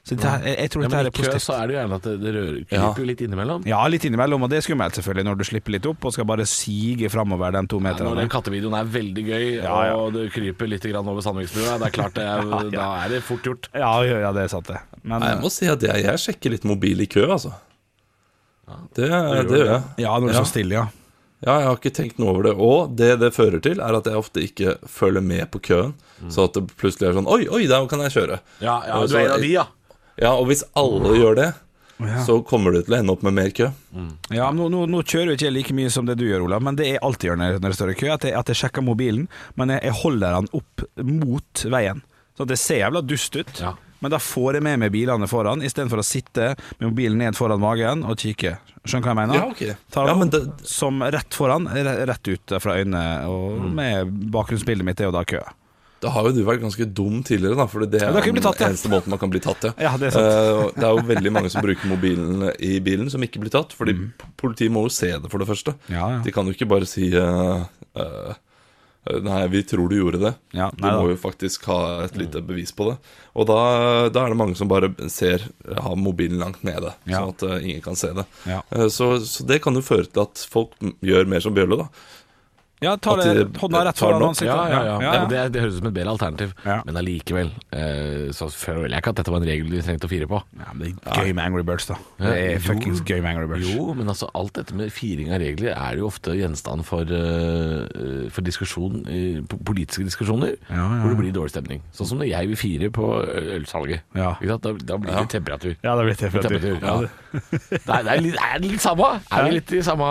Speaker 4: Så dette, her- jeg, jeg tror
Speaker 3: Ja,
Speaker 4: dette
Speaker 3: men i
Speaker 4: her er
Speaker 3: kø
Speaker 4: positivt.
Speaker 3: så er det jo gjerne at det, det rører
Speaker 5: Ja.
Speaker 3: kryper jo litt innimellom.
Speaker 4: Ja, litt innimellom, og det er skummelt selvfølgelig når du slipper litt opp og skal bare sige framover den to
Speaker 3: Ja, når
Speaker 4: meterne.
Speaker 3: den kattevideoen er veldig gøy,
Speaker 4: ja.
Speaker 3: og det kryper litt grann over Sandviksbrua, det er klart det er, da er det fort gjort.
Speaker 4: Ja, ja, ja, det er sant, det. Men,
Speaker 5: Nei, jeg må si at jeg, jeg sjekker litt mobil i kø, altså. Det, det gjør jeg.
Speaker 4: eh, ja, når du
Speaker 5: Ja.
Speaker 4: står stille, ja.
Speaker 5: Ja, jeg har ikke tenkt noe over det. Og det det fører til, er at jeg ofte ikke følger med på køen. Så at det plutselig er sånn Oi, oi, der kan jeg kjøre.
Speaker 3: Mm. Ja, ja
Speaker 5: Og
Speaker 3: du er
Speaker 5: så-
Speaker 3: en av de, ja.
Speaker 5: Ja, og hvis alle gjør det, så kommer du til å ende opp med mer kø.
Speaker 4: Ja, men nå, nå, nå kjører jo ikke jeg like mye som det du gjør, Olav, men det jeg alltid gjør når jeg, når jeg står i kø, at jeg, at jeg sjekker mobilen, men jeg, jeg holder den opp mot veien. Sånn at det ser jævla dust ut,
Speaker 3: Ja.
Speaker 4: men da får jeg med meg bilene foran, istedenfor å sitte med mobilen ned foran magen og kikke. Skjønner du hva jeg mener?
Speaker 5: Ja, ok.
Speaker 4: Tar
Speaker 5: Ja,
Speaker 4: den
Speaker 5: men
Speaker 4: opp
Speaker 5: det-
Speaker 4: som rett foran, re- rett ut fra øynene, og med bakgrunnsbildet mitt er jo da kø.
Speaker 5: Da har jo du vært ganske dum tidligere, da, for det er
Speaker 4: da kan
Speaker 5: den
Speaker 4: du bli tatt, ja.
Speaker 5: eneste måten man kan bli tatt til.
Speaker 4: Ja, det er sant.
Speaker 5: Eh, og det er jo veldig mange som bruker mobilen i bilen, som ikke blir tatt. Fordi politiet må jo se det, for det første.
Speaker 4: Mm. Ja, ja.
Speaker 5: De kan jo ikke bare si eh, eh, Nei, vi tror du gjorde det.
Speaker 4: Ja,
Speaker 5: du
Speaker 4: nei da.
Speaker 5: må jo faktisk ha et lite bevis på det. Og da, da er det mange som bare ser Har mobilen langt nede,
Speaker 4: Ja.
Speaker 5: sånn at eh, ingen kan se det.
Speaker 4: Ja.
Speaker 5: Eh, så, så det kan jo føre til at folk gjør mer som Bjørlo, da.
Speaker 4: Ja, tar
Speaker 5: At
Speaker 4: det,
Speaker 5: de-
Speaker 4: hånda rett
Speaker 5: tar
Speaker 4: foran
Speaker 5: den opp.
Speaker 4: ansiktet.
Speaker 3: Ja, ja, ja.
Speaker 4: ja, ja.
Speaker 3: Det, det høres ut som et bedre alternativ,
Speaker 4: Ja.
Speaker 3: men allikevel eh, så føler jeg ikke at dette var en regel vi trengte å fire på.
Speaker 4: Ja, men det er gøy med Angry Birds, da. Det
Speaker 3: Ja, jo.
Speaker 4: er fuckings gøy med Angry Birds.
Speaker 3: Jo, men altså alt dette med firing av regler er jo ofte gjenstand for, eh, for diskusjon, eh, po- politiske diskusjoner,
Speaker 4: Ja, ja,
Speaker 3: hvor det blir dårlig stemning. Sånn som når jeg vil fire på ø- ølsalget.
Speaker 4: Ja.
Speaker 3: Ikke sant? Da, da blir det temperatur.
Speaker 4: Ja, det blir temperatur.
Speaker 3: Temperatur, ja. Nei, det er, litt, er det litt samme? Er vi litt i samme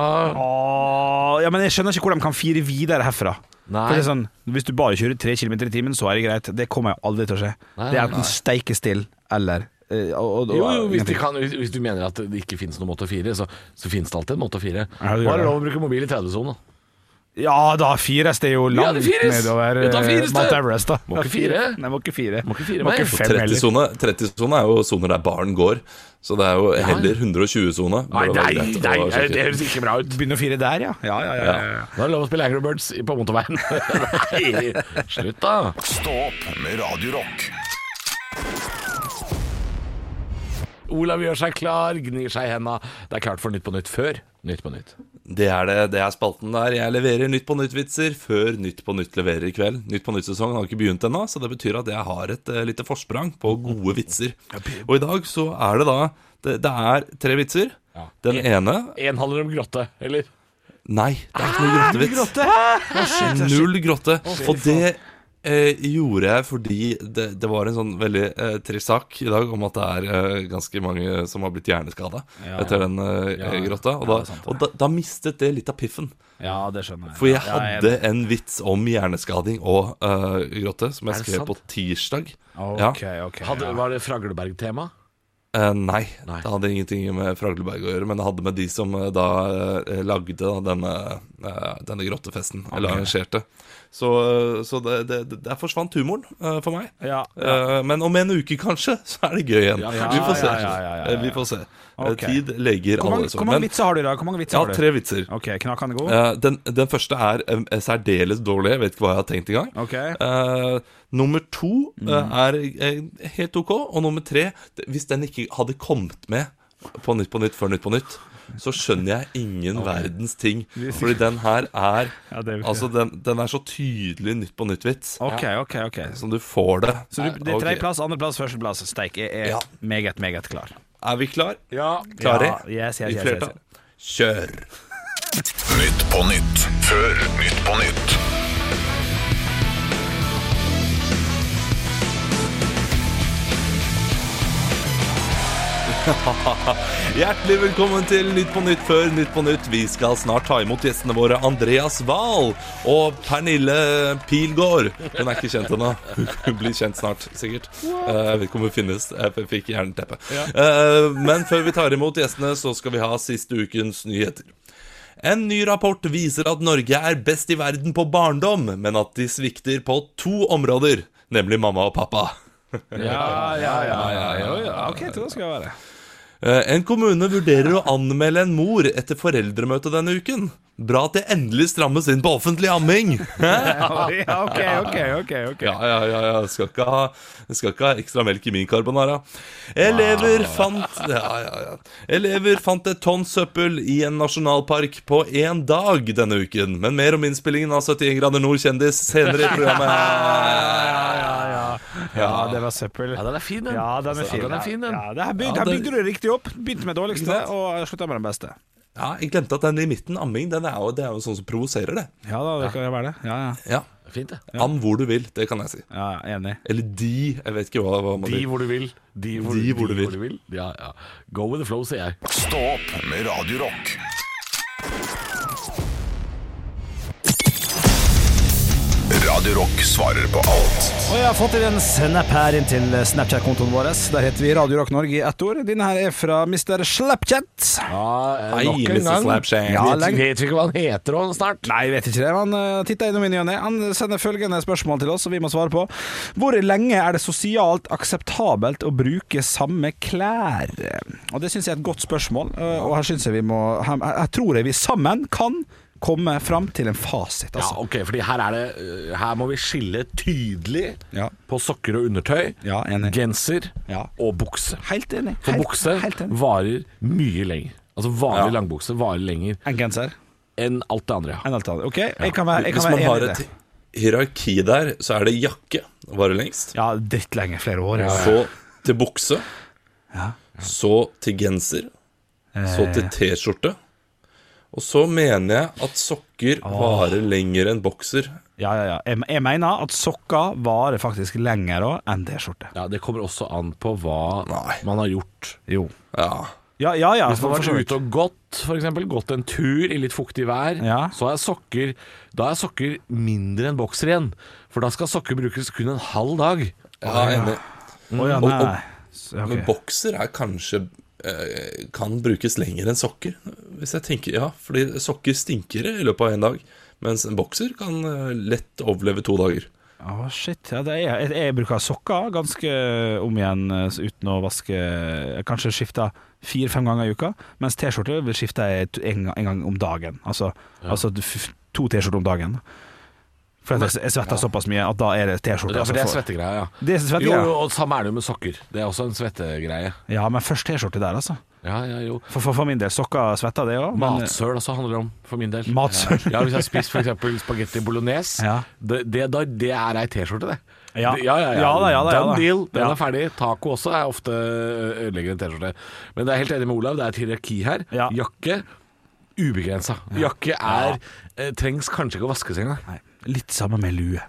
Speaker 4: Åh, ja, men jeg skjønner ikke hvor de kan fire videre herfra.
Speaker 3: Nei.
Speaker 4: For det er sånn, hvis du bare kjører 3 km i timen, så er det greit. Det kommer jo aldri til å skje.
Speaker 3: Nei,
Speaker 4: det er
Speaker 3: nei,
Speaker 4: enten steike still eller eh, og, og,
Speaker 3: Jo, jo, hvis, de
Speaker 4: ingenting.
Speaker 3: kan, hvis hvis du mener at det ikke finnes noen måte å fire, så, så finnes det alltid en måte å fire.
Speaker 4: Ja, det gjør
Speaker 3: Bare
Speaker 4: det.
Speaker 3: lov å bruke mobil i 30-sonen. da.
Speaker 4: Ja, da fires det jo
Speaker 3: Ja,
Speaker 4: langt
Speaker 3: det fires!
Speaker 4: nedover
Speaker 3: Ja, da
Speaker 4: eh,
Speaker 3: fires det!
Speaker 4: Mount Everest, da.
Speaker 3: Må ikke fire.
Speaker 4: Nei, må ikke fire.
Speaker 3: Må ikke fire
Speaker 4: Må
Speaker 3: mer.
Speaker 4: ikke fem heller.
Speaker 5: 30-sone 30 er jo soner der barn går, så det er jo heller 120-sone.
Speaker 3: Nei,
Speaker 5: Bare
Speaker 3: nei,
Speaker 5: veldig lett å
Speaker 3: nei,
Speaker 5: sjekke.
Speaker 3: det høres ikke bra ut.
Speaker 4: Begynne å fire der, ja. Ja, ja, ja. ja, ja.
Speaker 3: Da er det lov å spille Angry Birds i- på motorveien. Nei, Slutt, da.
Speaker 1: Stå opp med Radio Rock.
Speaker 3: Olav gjør seg klar, gnir seg i henda. Det er klart for Nytt på Nytt før Nytt på Nytt.
Speaker 5: Det er det. Det er spalten der. Jeg leverer Nytt på nytt-vitser før Nytt på nytt leverer i kveld. Nytt på nytt-sesongen har ikke begynt ennå, så det betyr at jeg har et eh, lite forsprang på gode vitser. Og i dag så er det da Det, det er tre vitser.
Speaker 3: Ja.
Speaker 5: Den ene
Speaker 3: Én handler om grotte, eller?
Speaker 5: Nei, det er ikke noe
Speaker 3: Ah,
Speaker 5: grottevits. Null grotte. Og det eh, gjorde jeg fordi det, det var en sånn veldig eh, trist sak i dag om at det er eh, ganske mange som har blitt hjerneskada etter den eh, grotta. Og, da, og da, da mistet det litt av piffen.
Speaker 4: ja, det skjønner jeg.
Speaker 5: For jeg
Speaker 4: Ja, jeg-
Speaker 5: hadde en vits om hjerneskading og eh, grotte som
Speaker 3: Er
Speaker 5: jeg
Speaker 3: det
Speaker 5: skrev
Speaker 3: sant?
Speaker 5: på tirsdag. Ja.
Speaker 4: Ok, ok.
Speaker 3: Hadde,
Speaker 4: ja.
Speaker 3: var det Fragleberg-tema?
Speaker 5: Eh, nei,
Speaker 3: Nei.
Speaker 5: det hadde ingenting med Fragleberg å gjøre, men det hadde med de som eh, da eh, lagde da, denne, eh, denne grottefesten, eller arrangerte. Så, eh, så det, det, det, der forsvant humoren eh, for meg.
Speaker 4: Ja,
Speaker 5: Eh, men om en uke, kanskje, så er det gøy igjen.
Speaker 3: Ja, ja,
Speaker 5: vi får se.
Speaker 4: ja, ja, ja, ja, ja.
Speaker 5: Eh, Vi får se. Eh,
Speaker 4: Ok.
Speaker 5: Tid legger
Speaker 4: Hvor mange,
Speaker 5: alle sår.
Speaker 4: hvor mange
Speaker 5: Men-
Speaker 4: vitser har du i dag? Hvor mange vitser
Speaker 5: Ja,
Speaker 4: har du?
Speaker 5: tre vitser.
Speaker 4: Ok, knakende god.
Speaker 5: Eh, den, den første er eh, særdeles dårlig. Jeg vet ikke hva jeg har tenkt engang.
Speaker 4: Ok.
Speaker 5: Eh, nummer to eh,
Speaker 4: Mm.
Speaker 5: er eh, helt ok. Og nummer tre det- Hvis den ikke hadde kommet med på Nytt på Nytt før Nytt på Nytt, så skjønner jeg ingen verdens ting. Fordi den her er
Speaker 4: Ja, det er jo
Speaker 5: Altså, den, den er så tydelig Nytt på Nytt-vits
Speaker 4: Ok, ok, ok.
Speaker 5: som du får det. Eh,
Speaker 4: Så du, det er
Speaker 5: Ok.
Speaker 4: tredjeplass, andreplass, førsteplass. Steik jeg er
Speaker 5: Ja.
Speaker 4: meget, meget klar.
Speaker 5: Er vi klar?
Speaker 3: Ja.
Speaker 5: Klare?
Speaker 4: Ja, yes, yes,
Speaker 5: I
Speaker 4: yes,
Speaker 5: flertall? Kjør!
Speaker 1: Nytt på nytt før Nytt på nytt.
Speaker 5: Hjertelig velkommen til Nytt på Nytt før Nytt på Nytt. Vi skal snart ta imot gjestene våre Andreas Wahl og Pernille Pilgaard. Hun er ikke kjent ennå. Hun blir kjent snart, sikkert. Eh, Jeg vet ikke om hun finnes. Jeg fikk jernteppe. Eh, Men før vi tar imot gjestene, så skal vi ha siste ukens nyheter. En ny rapport viser at Norge er best i verden på barndom, men at de svikter på to områder, nemlig mamma og pappa.
Speaker 4: Ja, ja, ja.
Speaker 5: ja, ja.
Speaker 4: Jo, ja. Ok, jeg tror det skal være.
Speaker 5: Eh, En kommune vurderer å anmelde en mor etter foreldremøtet denne uken. Bra at det endelig strammes inn på offentlig amming! Hæ?
Speaker 4: Ja, ok, ok, ok, ok.
Speaker 5: Ja, ja, ja, ja. Skal, ikke ha, skal ikke ha ekstra melk i min carbonara. Elever fant ja, ja, ja. Elever fant et tonn søppel i en nasjonalpark på én dag denne uken. Men mer om innspillingen av 71 grader nord kjendis senere i programmet.
Speaker 4: Ja, ja. ja, det var søppel.
Speaker 3: Ja, den er fin, den.
Speaker 4: Ja, den er
Speaker 3: Altså,
Speaker 4: fin.
Speaker 3: den er fin, den.
Speaker 4: Ja, det her bygde, her
Speaker 5: det-
Speaker 4: bygde du det riktig opp. Begynte med det dårligste
Speaker 5: sant?
Speaker 4: og slutta med det beste.
Speaker 5: Ja, jeg glemte at den i midten, amming, den er jo, det er jo sånn som provoserer det.
Speaker 4: Ja da, det kan jo være det. Ja, ja.
Speaker 5: Ja.
Speaker 3: Fint, det.
Speaker 5: Am hvor du vil, det kan jeg si.
Speaker 4: ja enig.
Speaker 5: Eller de, jeg vet ikke hva, hva man
Speaker 3: De
Speaker 5: vil.
Speaker 3: hvor du vil. De hvor,
Speaker 5: De hvor du vil.
Speaker 3: Ja, ja. Go with the flow, sier jeg.
Speaker 1: Stå opp med Radio Rock. Radio Rock svarer på alt.
Speaker 4: Og jeg har fått inn en snap her inn til Snapchat-kontoen vår. Der heter vi Radio Rock Norge i ett ord. Denne her er fra Mr. Slapchat.
Speaker 3: Ja, eh,
Speaker 5: Hei, Mr. Slapshank.
Speaker 4: Ja,
Speaker 3: Ja,
Speaker 4: lenge-
Speaker 3: vet vi ikke hva han heter også, snart.
Speaker 4: Nei, jeg vet ikke det. men Han uh, titter innom i ny og ne. Han sender følgende spørsmål til oss, som vi må svare på. Hvor lenge er det sosialt akseptabelt å bruke samme klær? Og Det syns jeg er et godt spørsmål, uh, og her syns jeg vi må her, her tror jeg vi sammen kan komme fram til en fasit,
Speaker 3: Ja,
Speaker 4: altså.
Speaker 3: ok, fordi her er det øh, Her må vi skille tydelig
Speaker 4: Ja.
Speaker 3: på sokker og undertøy,
Speaker 4: Ja, enig.
Speaker 3: genser
Speaker 4: Ja.
Speaker 3: og bukse.
Speaker 4: Helt enig.
Speaker 3: For
Speaker 4: Helt-
Speaker 3: bukse
Speaker 4: helt enig.
Speaker 3: varer mye lenger. Altså vanlig
Speaker 5: Ja.
Speaker 3: langbukse varer lenger
Speaker 4: En genser.
Speaker 3: enn alt det andre.
Speaker 4: En alt annet. OK, jeg kan være, jeg
Speaker 5: Hvis
Speaker 4: kan
Speaker 5: man
Speaker 4: være
Speaker 5: har
Speaker 4: enig i
Speaker 5: et
Speaker 4: det.
Speaker 5: hierarki der, så er det jakke varer lengst.
Speaker 4: Ja, drittlenge. Flere år. Ja.
Speaker 5: Så til bukse. Så til genser.
Speaker 4: Eh.
Speaker 5: Så til T-skjorte. Og så mener jeg at sokker varer lenger enn bokser.
Speaker 4: Ja, ja, ja. Jeg, jeg mener at sokker varer faktisk lenger også enn T-skjorte.
Speaker 3: Ja, Det kommer også an på hva
Speaker 5: Nei.
Speaker 3: man har gjort.
Speaker 4: Jo.
Speaker 5: Ja.
Speaker 4: Ja, ja, ja.
Speaker 3: Hvis man
Speaker 4: for så
Speaker 3: har vært
Speaker 4: vidt.
Speaker 3: ute og gått, for eksempel, gått en tur i litt fuktig vær,
Speaker 4: Ja.
Speaker 3: så er sokker Da er sokker mindre enn bokser igjen. For da skal sokker brukes kun en halv dag.
Speaker 5: Ja, enig.
Speaker 3: Mm.
Speaker 4: Å ja,
Speaker 5: Og-
Speaker 4: nei.
Speaker 5: og-
Speaker 4: Så, ok.
Speaker 5: Men bokser er kanskje eh, kan brukes lenger enn sokker. Hvis jeg tenker, ja, fordi sokker stinker i løpet av én dag. Mens en bokser kan eh, lett overleve to dager.
Speaker 4: Å, shit. Ja, det er, jeg, jeg bruker sokker ganske om igjen eh, uten å vaske eh, Kanskje skifte fire-fem ganger i uka, mens T-skjorte skifter jeg to- en, gang- en gang om dagen. Altså, altså f- to T-skjorter om dagen. For at jeg, jeg svetter såpass mye at da er det T-skjorte.
Speaker 3: Ja, Altså, for det er
Speaker 4: som får-
Speaker 3: svettegreia, ja.
Speaker 4: Det er svette,
Speaker 3: Jo,
Speaker 4: ja.
Speaker 3: jo, og samme er det jo med sokker. Det er også en svettegreie.
Speaker 4: ja, men først T-skjorte der, altså.
Speaker 3: Ja, ja, jo.
Speaker 4: For, for, for min del, sokker svetter det òg.
Speaker 3: Matsøl også handler det om, for min del.
Speaker 4: eh, Matsøl.
Speaker 3: Ja, Hvis jeg har spist f.eks. spagetti bolognese,
Speaker 4: Ja.
Speaker 3: det, det, da, det er ei T-skjorte, det.
Speaker 4: Ja.
Speaker 3: Det- ja, ja, ja.
Speaker 4: Ja da, ja da, ja da.
Speaker 3: Done deal, den
Speaker 4: Ja.
Speaker 3: er ferdig. Taco også er ofte ødelegger en T-skjorte. Men det er helt enig med Olav, det er et hierarki her.
Speaker 4: Ja.
Speaker 3: Jakke ubegrensa. Jakke er eh, trengs kanskje ikke å vaskes engang.
Speaker 4: Nei, litt samme med lue.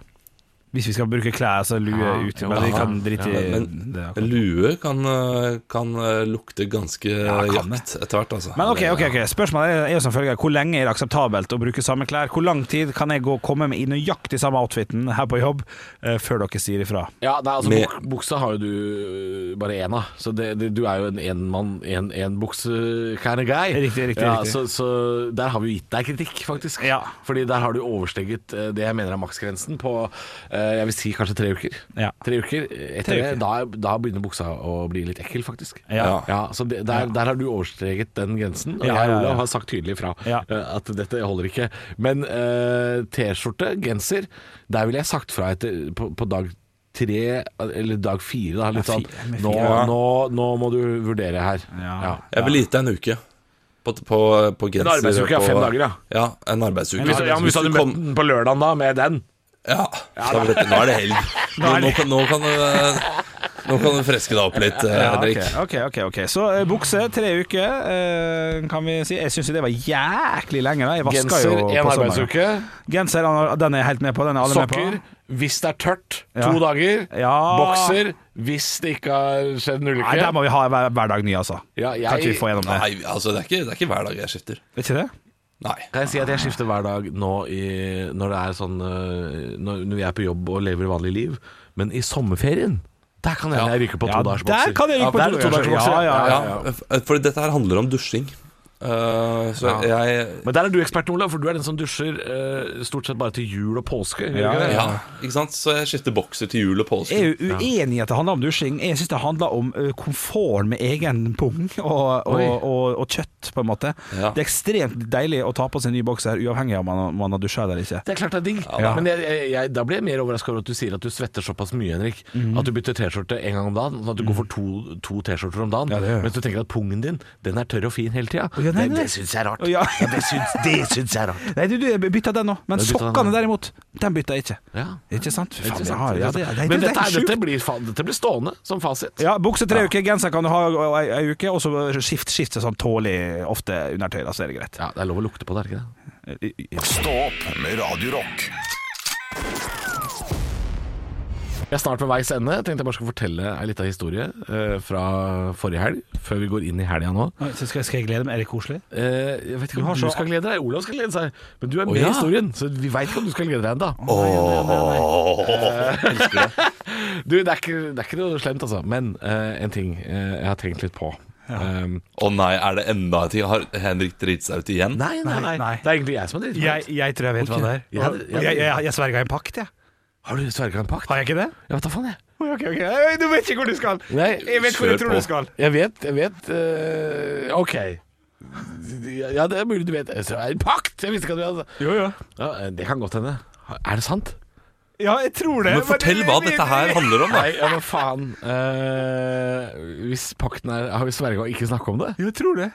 Speaker 4: Hvis vi skal bruke klær, så lue
Speaker 3: Ja,
Speaker 4: ut.
Speaker 3: jo,
Speaker 4: Men vi
Speaker 3: ja.
Speaker 4: kan drite i
Speaker 5: Men
Speaker 4: det. akkurat.
Speaker 5: lue kan, eh, kan eh, lukte ganske
Speaker 4: kan
Speaker 5: jakt etter hvert, altså.
Speaker 4: Men ok,
Speaker 5: Det-
Speaker 4: ok, ok, spørsmålet er- er jo som følger Hvor lenge er det akseptabelt å bruke samme klær? Hvor lang tid kan jeg gå og komme med i nøyaktig samme outfiten her på jobb eh, Før dere sier ifra?
Speaker 3: Ja, nei, altså
Speaker 5: Med-
Speaker 3: buk Buksa har jo du øh, bare én av, så det, det, du er jo en enmann, en, en bukse kind of guy.
Speaker 4: Riktig, riktig,
Speaker 3: ja,
Speaker 4: riktig.
Speaker 3: Så, så der har vi jo gitt deg kritikk, faktisk.
Speaker 4: Ja.
Speaker 3: Fordi der har du oversteget øh, det jeg mener er maksgrensen på øh, jeg vil si kanskje tre uker.
Speaker 4: Ja.
Speaker 3: Tre uker. øh, Etter
Speaker 4: Tre
Speaker 3: det, da, da begynner buksa å bli litt ekkel, faktisk.
Speaker 4: Ja.
Speaker 3: så det, der, der har du oversteget den grensen, og
Speaker 4: Ja,
Speaker 3: jeg
Speaker 4: ja,
Speaker 3: og
Speaker 4: ja.
Speaker 3: Olav har sagt tydelig fra
Speaker 4: Ja.
Speaker 3: øh, at dette holder ikke. Men øh, T-skjorte, genser, der ville jeg sagt fra etter, på, på dag tre, eller dag fire, da. Litt
Speaker 4: Ja,
Speaker 3: sånn
Speaker 4: fire, med
Speaker 3: nå,
Speaker 5: fire, ja.
Speaker 3: nå, nå må du vurdere her.
Speaker 4: Ja.
Speaker 5: Jeg vil gitt deg en uke. På, på, eh, på genser.
Speaker 3: arbeidsuke
Speaker 5: og
Speaker 3: er
Speaker 5: på-
Speaker 3: fem dager, ja.
Speaker 5: Ja, en arbeidsuke.
Speaker 3: Hvis, ja, men hvis du hadde møtt den på lørdagen da, med den
Speaker 5: Ja, da var dette- nå er det helg. Nå, nå, kan, nå, kan, eh, Nå kan du freske deg opp litt, eh,
Speaker 4: Ja,
Speaker 5: Henrik.
Speaker 4: ok, ok, ok, ok. Så eh, bukse, tre uker, eh, kan vi si. Jeg syns det var jæklig lenge. Da. Jeg vaska
Speaker 3: Genser
Speaker 4: jo på
Speaker 3: en
Speaker 4: sommeren.
Speaker 3: arbeidsuke.
Speaker 4: Genser, han har- den er jeg helt med på. Den er alle
Speaker 3: Sokker
Speaker 4: med på.
Speaker 3: hvis det er tørt,
Speaker 4: Ja.
Speaker 3: to dager.
Speaker 4: Ja.
Speaker 3: Bokser hvis det ikke har skjedd en
Speaker 4: Nei, der
Speaker 3: ulykke.
Speaker 4: må vi ha hver, hver dag ny, altså.
Speaker 3: Ja, jeg-
Speaker 4: Kan ikke vi få gjennom det?
Speaker 5: Nei, altså, det er, ikke, det er ikke hver dag jeg skifter.
Speaker 4: Er Ikke det?
Speaker 5: Nei.
Speaker 3: Kan jeg si at jeg skifter hver dag nå i, når det er sånn øh, Når når jeg er på jobb og lever vanlig liv, men i sommerferien Der kan det hende jeg ryker på
Speaker 4: Ja,
Speaker 3: to dagers bokser.
Speaker 4: der kan jeg ryke på
Speaker 3: der
Speaker 4: to-
Speaker 3: er det
Speaker 4: dagers
Speaker 3: bokser,
Speaker 4: bokser, ja,
Speaker 5: Ja, f- for dette her handler om dusjing. Eh, så jeg
Speaker 3: Men der er du ekspert, Olav, for du er den som dusjer øh, stort sett bare til jul og påske. gjør du ikke det?
Speaker 5: ja, ikke sant? Så jeg skifter bokser til jul og påske.
Speaker 4: Jeg er jo uenig i at det handler om dusjing. Jeg syns det handler om ø, komforten med egen pung og, og,
Speaker 3: Oi.
Speaker 4: og, og kjøtt, på en måte.
Speaker 5: Ja.
Speaker 4: Det er ekstremt deilig å ta på seg en ny bokser, uavhengig av om man, om man har dusja eller ikke.
Speaker 3: Det er klart det er digg,
Speaker 4: Ja.
Speaker 3: men jeg, jeg, jeg, da blir jeg mer overraska over at du sier at du svetter såpass mye, Henrik.
Speaker 4: Mhm.
Speaker 3: At du bytter T-skjorte en gang om dagen, sånn at du går for to, to T-skjorter om dagen.
Speaker 4: Ja, det gjør jeg.
Speaker 3: mens du tenker at pungen din, den er tørr og fin hele tida.
Speaker 4: ja, nei,
Speaker 3: det
Speaker 4: nei.
Speaker 3: det syns jeg er rart.
Speaker 4: Ja.
Speaker 3: Ja, det, syns, det syns jeg er rart.
Speaker 4: Nei, du, du jeg bytta den nå, men
Speaker 3: Du bytter den nå.
Speaker 4: sokkene derimot, den bytta jeg ikke.
Speaker 3: Ja.
Speaker 4: Ikke sant? Fy faen, jeg
Speaker 3: Interessant.
Speaker 4: har, ja, det, det, det,
Speaker 3: men
Speaker 4: det
Speaker 3: dette,
Speaker 4: er
Speaker 3: er,
Speaker 4: sjukt.
Speaker 3: dette, blir, faen, dette blir stående som fasit.
Speaker 4: Ja, bukse tre uker, genser kan du ha ø, ei ei uke, og så skift, skifte sånn tålig ofte undertøy, da, så er det greit.
Speaker 3: Ja, det er lov å lukte på det, er det ikke det?
Speaker 4: I- i-
Speaker 1: Stå opp med Radio Rock.
Speaker 3: Jeg er snart ved veis ende. Tenkte jeg bare skulle fortelle ei lita historie eh, fra forrige helg, før vi går inn i helga nå.
Speaker 4: Oi, så Skal, skal jeg glede meg? Er det koselig?
Speaker 3: Eh, jeg vet ikke om
Speaker 4: har
Speaker 3: du
Speaker 4: så-
Speaker 3: skal glede deg, Olav skal glede seg. Men du er med
Speaker 5: ja.
Speaker 3: i historien, så vi veit ikke om du skal glede deg ennå. Du, det er, ikke, det er ikke noe slemt, altså. Men eh, en ting eh, jeg har tenkt litt på. Um,
Speaker 5: Å nei, er det enda en ting? Har Henrik driti seg ut igjen?
Speaker 3: nei, nei, nei,
Speaker 4: nei.
Speaker 3: Det er egentlig jeg som har dritt meg
Speaker 4: Jeg,
Speaker 3: ut.
Speaker 4: jeg tror jeg vet
Speaker 3: Ok.
Speaker 4: hva det er.
Speaker 3: Ja,
Speaker 4: Og-
Speaker 3: det-
Speaker 4: og jeg jeg, jeg sverga en pakt, jeg.
Speaker 3: Har du sverga en pakt?
Speaker 4: Har jeg ikke det?
Speaker 3: Jeg vet da faen, jeg.
Speaker 4: Oi, Ok, ok, Oi, Du vet ikke hvor du skal!
Speaker 3: Nei,
Speaker 4: Jeg vet hvor
Speaker 5: kjør
Speaker 4: jeg tror
Speaker 5: på.
Speaker 4: du skal.
Speaker 3: jeg vet, jeg vet eh, OK. Ja, det er mulig du vet Jeg tror det er En pakt! Jeg visste ikke at du hadde
Speaker 4: Jo, ja.
Speaker 3: ja, eh, Det kan godt hende. Er det sant?
Speaker 4: ja, jeg tror det.
Speaker 5: Men fortell hva dette her handler om, da.
Speaker 3: Nei, ja, men faen. Eh, hvis pakten er Har vi sverga å ikke snakke om det?
Speaker 4: Jeg tror det.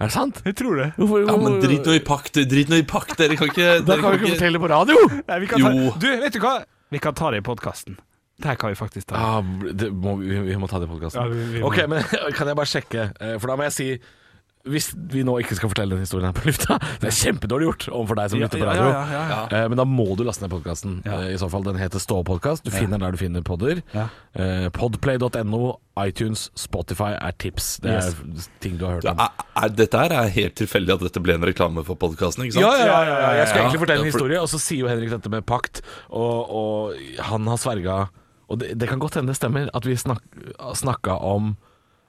Speaker 3: Er det sant?
Speaker 4: Jeg tror det.
Speaker 3: Hvorfor,
Speaker 5: Ja, men drit nå i pakt, drit nå i pakt. Dere kan ikke
Speaker 3: Da
Speaker 5: dere
Speaker 3: kan vi ikke fortelle på radio!
Speaker 4: Nei, vi kan ta
Speaker 5: Jo.
Speaker 4: Du, vet du hva? Vi kan ta det i podkasten. Det her kan vi faktisk ta.
Speaker 3: Ah, det må, vi, vi må ta det i podkasten.
Speaker 4: Ja, vi- vi må.
Speaker 3: ok, men kan jeg bare sjekke? Eh, For da må jeg si Hvis vi nå ikke skal fortelle den historien her på lufta Det er kjempedårlig gjort overfor deg som
Speaker 4: Ja,
Speaker 3: lytter på
Speaker 4: ja,
Speaker 3: radio.
Speaker 4: ja, ja, ja.
Speaker 3: Eh, Men da må du laste ned podkasten. I så fall, Den heter Stå podkast. Du finner den der du finner podder.
Speaker 4: Ja.
Speaker 3: Eh, Podplay.no, iTunes, Spotify er tips. Det er ting du har hørt
Speaker 5: Ja,
Speaker 3: om.
Speaker 5: er, er, dette her er helt tilfeldig at dette ble en reklame for podkasten, ikke sant?
Speaker 3: Ja, ja, ja, ja, ja. Jeg skal
Speaker 5: Ja,
Speaker 3: egentlig fortelle en
Speaker 5: ja, for-
Speaker 3: historie, og så sier jo Henrik dette med pakt, og, og han har sverga Og det, det kan godt hende det stemmer at vi snak, snakka om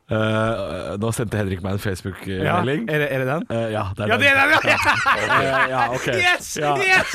Speaker 3: eh, Nå sendte Henrik meg en
Speaker 4: Ja,
Speaker 3: Facebook-melding.
Speaker 4: er, det, er det den?
Speaker 3: Eh, ja, det er
Speaker 4: Ja, det er den! Ja.
Speaker 3: Eh, ja, ok.
Speaker 4: Yes!
Speaker 3: Ja.
Speaker 4: yes!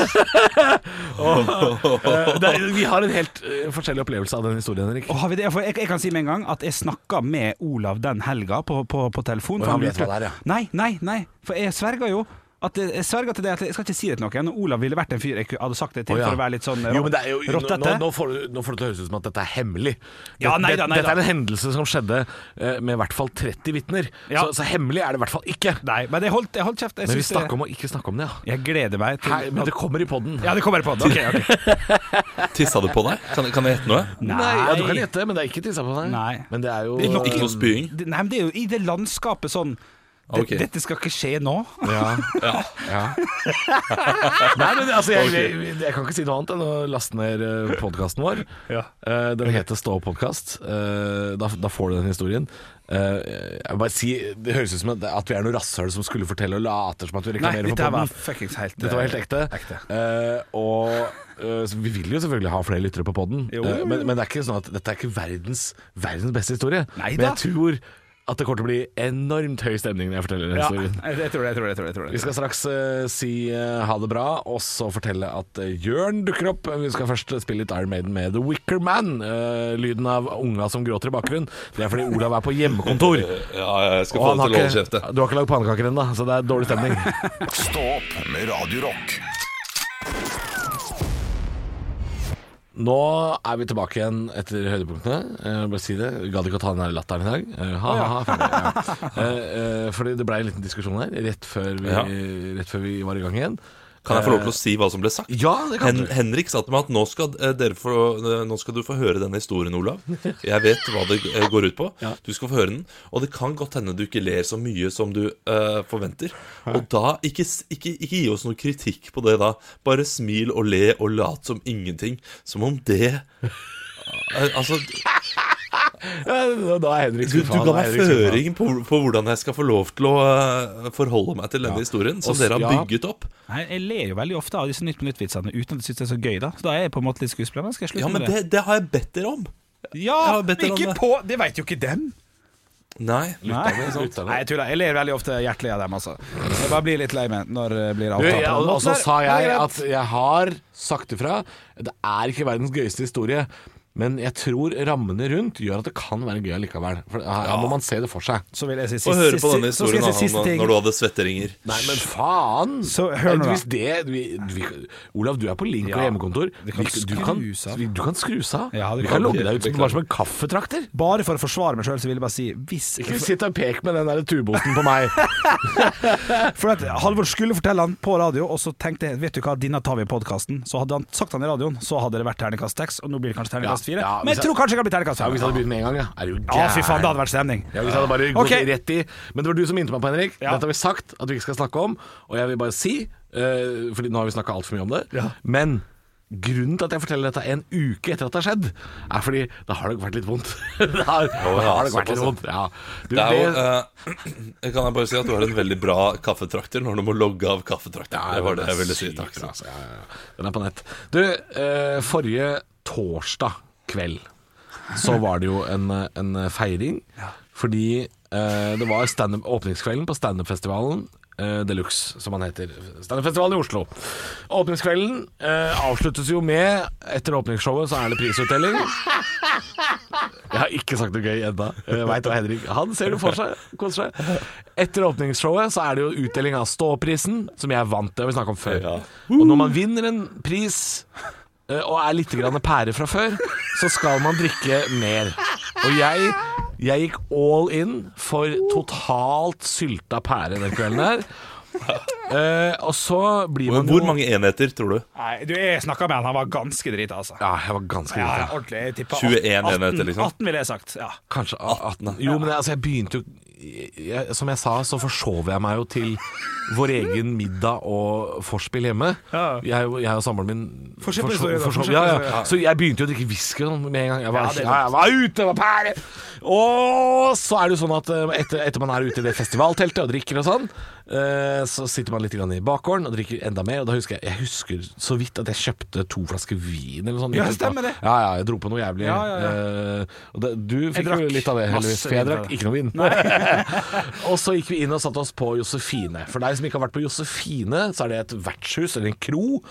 Speaker 3: Eh, det er, vi har en helt eh, forskjellig opplevelse av den historien, Henrik.
Speaker 4: Og har vi det? For jeg, jeg kan si med en gang at jeg snakka med Olav den helga på, på, på telefon.
Speaker 3: Og
Speaker 4: for
Speaker 3: han
Speaker 4: ble
Speaker 3: vet hva
Speaker 4: trøtt.
Speaker 3: det er, ja.
Speaker 4: Nei, nei, nei. For jeg sverga jo at jeg sverga til det at jeg skal ikke si det til noen. Og Olav ville vært en fyr jeg ku- hadde sagt det til
Speaker 3: Å, ja.
Speaker 4: for å være litt sånn
Speaker 3: Jo, men det er jo, nå,
Speaker 4: rottete.
Speaker 3: nå, nå, får du, nå får det til å høres ut som at dette er hemmelig.
Speaker 4: Ja,
Speaker 3: Det-
Speaker 4: nei
Speaker 3: det-
Speaker 4: da, nei
Speaker 3: dette
Speaker 4: da.
Speaker 3: er en hendelse som skjedde eh, med i hvert fall 30 vitner.
Speaker 4: Ja.
Speaker 3: Så, så hemmelig er det i hvert fall ikke.
Speaker 4: Nei, men jeg holdt, jeg holdt kjeft.
Speaker 3: Men
Speaker 4: Jeg,
Speaker 3: vi
Speaker 4: synes det-
Speaker 3: snakker om å ikke snakke om det, ja.
Speaker 4: jeg gleder meg til
Speaker 3: Her, men det kommer i poden.
Speaker 4: Ja, det kommer på den. Ok, ok.
Speaker 5: Tissa du på deg? Kan, kan jeg gjette noe?
Speaker 3: Nei. Ja, du kan gjette, men det er ikke tissa på deg.
Speaker 4: Nei.
Speaker 3: Men det er jo
Speaker 5: Ikke, ikke noe spying?
Speaker 4: Det- Nei, men det er jo i det landskapet sånn det,
Speaker 5: Ok.
Speaker 4: Dette skal ikke skje nå.
Speaker 3: Ja.
Speaker 5: Ja.
Speaker 3: Nei, men altså, jeg, jeg, jeg kan ikke si noe annet enn å laste ned podkasten vår.
Speaker 4: Ja.
Speaker 3: Eh, den heter Stå opp-podkast. da, da får du den historien. Eh, jeg vil bare si, Det høres ut som at at vi er noe rasshøl som skulle fortelle og later som at vi
Speaker 4: Nei,
Speaker 3: reklamerer for
Speaker 4: dette her var
Speaker 3: podden.
Speaker 4: fuckings helt
Speaker 3: Dette var helt ekte.
Speaker 4: ekte.
Speaker 3: Eh, og eh, så Vi vil jo selvfølgelig ha flere lyttere på poden,
Speaker 4: Jo, jo, jo.
Speaker 3: men, men det er ikke sånn at dette er ikke verdens, verdens beste historie.
Speaker 4: Nei
Speaker 3: men
Speaker 4: da.
Speaker 3: jeg tror at det kommer til å bli enormt høy stemning når jeg forteller den
Speaker 4: Ja,
Speaker 3: historien.
Speaker 4: jeg, jeg tror det. jeg tror det, jeg tror det, jeg tror
Speaker 3: Vi
Speaker 4: det.
Speaker 3: skal straks eh, si eh, ha det bra, og så fortelle at eh, Jørn dukker opp. Vi skal først spille litt Iron Maiden med The Wicker Man. Eh, lyden av unga som gråter i bakgrunnen. Det er fordi Olav er på hjemmekontor.
Speaker 5: Eh, Ja, jeg skal
Speaker 3: Og han har
Speaker 5: få det til å holde
Speaker 3: ikke,
Speaker 5: kjefte.
Speaker 3: du har ikke lagd pannekaker ennå, så det er dårlig stemning.
Speaker 1: Stå opp med Radio Rock.
Speaker 3: Nå er vi tilbake igjen etter høydepunktene. Eh, bare si det. Vi Gadd ikke å ta den der latteren i dag. Eh, ha, ha, ha, ferdig, ja. Eh, eh, fordi det ble en liten diskusjon her rett før vi,
Speaker 5: Ja.
Speaker 3: rett før vi var i gang igjen.
Speaker 5: Kan jeg få lov til å si hva som ble sagt?
Speaker 3: Ja, det kan
Speaker 5: Hen
Speaker 3: du.
Speaker 5: Henrik sa til meg at nå skal, eh, dere få, eh, nå skal du få høre denne historien, Olav. Jeg vet hva det eh, går ut på. Du skal få høre den. Og det kan godt hende du ikke ler så mye som du eh, forventer. Og da, ikke, s- ikke, ikke gi oss noe kritikk på det da. Bare smil og le og lat som ingenting. Som om det Eh, Altså,
Speaker 3: Ja, Da er Henrik
Speaker 5: du, du
Speaker 3: skuffa,
Speaker 5: ga
Speaker 3: da er
Speaker 5: meg
Speaker 3: Henrik skuffa.
Speaker 5: føring på, på hvordan jeg skal få lov til å eh, forholde meg til denne historien, som
Speaker 3: Og s-
Speaker 5: dere har
Speaker 3: ja.
Speaker 5: bygget opp.
Speaker 4: Nei, jeg ler jo veldig ofte av disse Nytt på Nytt-vitsene uten at jeg syns det er så gøy, da. Så da er jeg på en måte litt skuespiller. Men skal jeg slutte
Speaker 5: Ja, men
Speaker 4: med det?
Speaker 5: det, det har jeg bedt dere om.
Speaker 4: Ja,
Speaker 5: jeg har bedt
Speaker 4: men
Speaker 5: dere om
Speaker 4: ikke
Speaker 5: det.
Speaker 4: på Det veit jo ikke dem.
Speaker 5: Nei.
Speaker 4: Nei, Nei jeg tuller. Jeg ler veldig ofte hjertelig av dem, altså. Jeg bare blir litt lei meg når det blir
Speaker 3: Du,
Speaker 4: avtalt.
Speaker 3: jeg,
Speaker 4: på den
Speaker 3: og
Speaker 4: måten
Speaker 3: så
Speaker 4: der.
Speaker 3: sa
Speaker 4: Det
Speaker 3: jeg
Speaker 4: er greit.
Speaker 3: at jeg har sagt ifra. Det er ikke verdens gøyeste historie, men jeg tror rammene rundt gjør at det kan være gøy allikevel. For her må man se det for seg.
Speaker 4: Så vil jeg si
Speaker 5: Få
Speaker 4: siste,
Speaker 5: høre på denne
Speaker 4: siste, så skal
Speaker 5: historien
Speaker 4: jeg si
Speaker 5: da,
Speaker 4: siste ting.
Speaker 5: når du hadde svetteringer.
Speaker 3: Nei, men faen!
Speaker 4: Så hør nå da.
Speaker 3: Hvis det vi, vi, Olav, du er på link og
Speaker 4: Ja.
Speaker 3: hjemmekontor.
Speaker 4: Vi kan
Speaker 3: Vi- du,
Speaker 4: skru
Speaker 3: kan,
Speaker 4: seg.
Speaker 3: vi- du kan skru seg av.
Speaker 4: Ja, det
Speaker 3: vi
Speaker 4: kan
Speaker 3: kan
Speaker 4: vi.
Speaker 3: logge deg ut som, bare som en kaffetrakter.
Speaker 4: Bare for å forsvare meg sjøl, så vil jeg bare si hvis
Speaker 3: Ikke sitt og pek med den der tuboten på meg.
Speaker 4: For at Halvor skulle fortelle han på radio, og så tenkte jeg Vet du hva, denne tar vi i podkasten. Så hadde han sagt han i radioen, så hadde det vært terningkast seks, og nå blir det kanskje terningkast
Speaker 3: Ja,
Speaker 4: fire.
Speaker 3: ja,
Speaker 4: men
Speaker 3: hvis
Speaker 4: jeg
Speaker 3: jeg-
Speaker 4: tror kanskje det kan bli terningkast
Speaker 3: Ja, Hvis jeg
Speaker 4: fem.
Speaker 3: hadde begynt med en gang, ja. Er du
Speaker 4: Ja, fy faen, det
Speaker 3: gæren?
Speaker 4: hadde vært stemning.
Speaker 3: Ja, hvis jeg hadde bare gått
Speaker 4: Ok.
Speaker 3: rett i Men det var du som minte meg på, Henrik.
Speaker 4: Ja.
Speaker 3: Dette har vi sagt at vi ikke skal snakke om, og jeg vil bare si, eh, Fordi nå har vi snakka altfor mye om det,
Speaker 4: Ja.
Speaker 3: men grunnen til at jeg forteller dette en uke etter at det har skjedd, er fordi da har det vært litt vondt. da har, da har det vært litt vondt. Ja. Du,
Speaker 5: Det er jo,
Speaker 3: det-
Speaker 5: eh, kan jeg bare si at du har en veldig bra kaffetrakter når du må logge av kaffetrakter.
Speaker 3: Ja,
Speaker 5: det var det jeg ville si.
Speaker 3: sykt
Speaker 5: Takk.
Speaker 3: bra, altså. Ja, ja, ja. Den er på nett. Du, eh, forrige torsdag kveld så var det jo en, eh, en feiring. Fordi eh, det var stand åpningskvelden på standupfestivalen. Uh, Deluxe, som han heter. Standupfestivalen i Oslo. Åpningskvelden eh, avsluttes jo med Etter åpningsshowet så er det prisutdeling. Jeg har ikke sagt noe gøy ennå. Jeg Veit hva Henrik Han ser det for seg. Koser seg. Etter åpningsshowet så er det jo utdeling av Ståprisen, som jeg vant. Det har vi snakka om før. Og når man vinner en pris eh, og er litt grann pære fra før, så skal man drikke mer. Og jeg jeg gikk all in for totalt sylta pære den kvelden her. Eh, og så blir man
Speaker 5: Hvor
Speaker 3: jo-
Speaker 5: mange enheter, tror du?
Speaker 4: Nei, du, jeg snakka med han, han var ganske drita, altså.
Speaker 3: Ja, jeg var ganske
Speaker 4: Ja,
Speaker 3: lita.
Speaker 4: ja, ordentlig. Jeg tippa
Speaker 5: 21
Speaker 4: 18,
Speaker 5: enheter, liksom.
Speaker 4: 18 ville jeg sagt. Ja.
Speaker 3: Kanskje 18. Jo, men jeg, altså, jeg begynte jo jeg, Som jeg sa, så forsov jeg meg jo til vår egen middag og vorspiel hjemme.
Speaker 4: Ja.
Speaker 3: Jeg, jeg og samboeren min
Speaker 4: Forspill
Speaker 3: forsov-
Speaker 4: står det da,
Speaker 3: forsov-
Speaker 4: forspill
Speaker 3: ja,
Speaker 4: står
Speaker 3: ja.
Speaker 4: det.
Speaker 3: Så jeg begynte jo å drikke whisky og sånn med en gang. Jeg
Speaker 4: Ja,
Speaker 3: var,
Speaker 4: det er
Speaker 3: ja, jeg var ute, jeg var pære! Og så er det jo sånn at eh, etter, etter man er ute i det festivalteltet og drikker og sånn, eh, så sitter man litt grann i bakgården og drikker enda mer. Og da husker jeg Jeg husker så vidt at jeg kjøpte to flasker vin eller noe sånt.
Speaker 4: Ja,
Speaker 3: Litt
Speaker 4: stemmer det.
Speaker 3: på- Ja, ja, jeg dro på noe jævlig.
Speaker 4: Ja, ja, ja.
Speaker 3: Eh, og det, du fikk
Speaker 4: drakk
Speaker 3: jo litt av det, heldigvis.
Speaker 4: masse
Speaker 3: For jeg
Speaker 4: vin
Speaker 3: drakk
Speaker 4: av det.
Speaker 3: ikke noe vin. og så gikk vi inn og satte oss på Josefine. For deg som ikke har vært på Josefine, så er det et vertshus, eller en kro,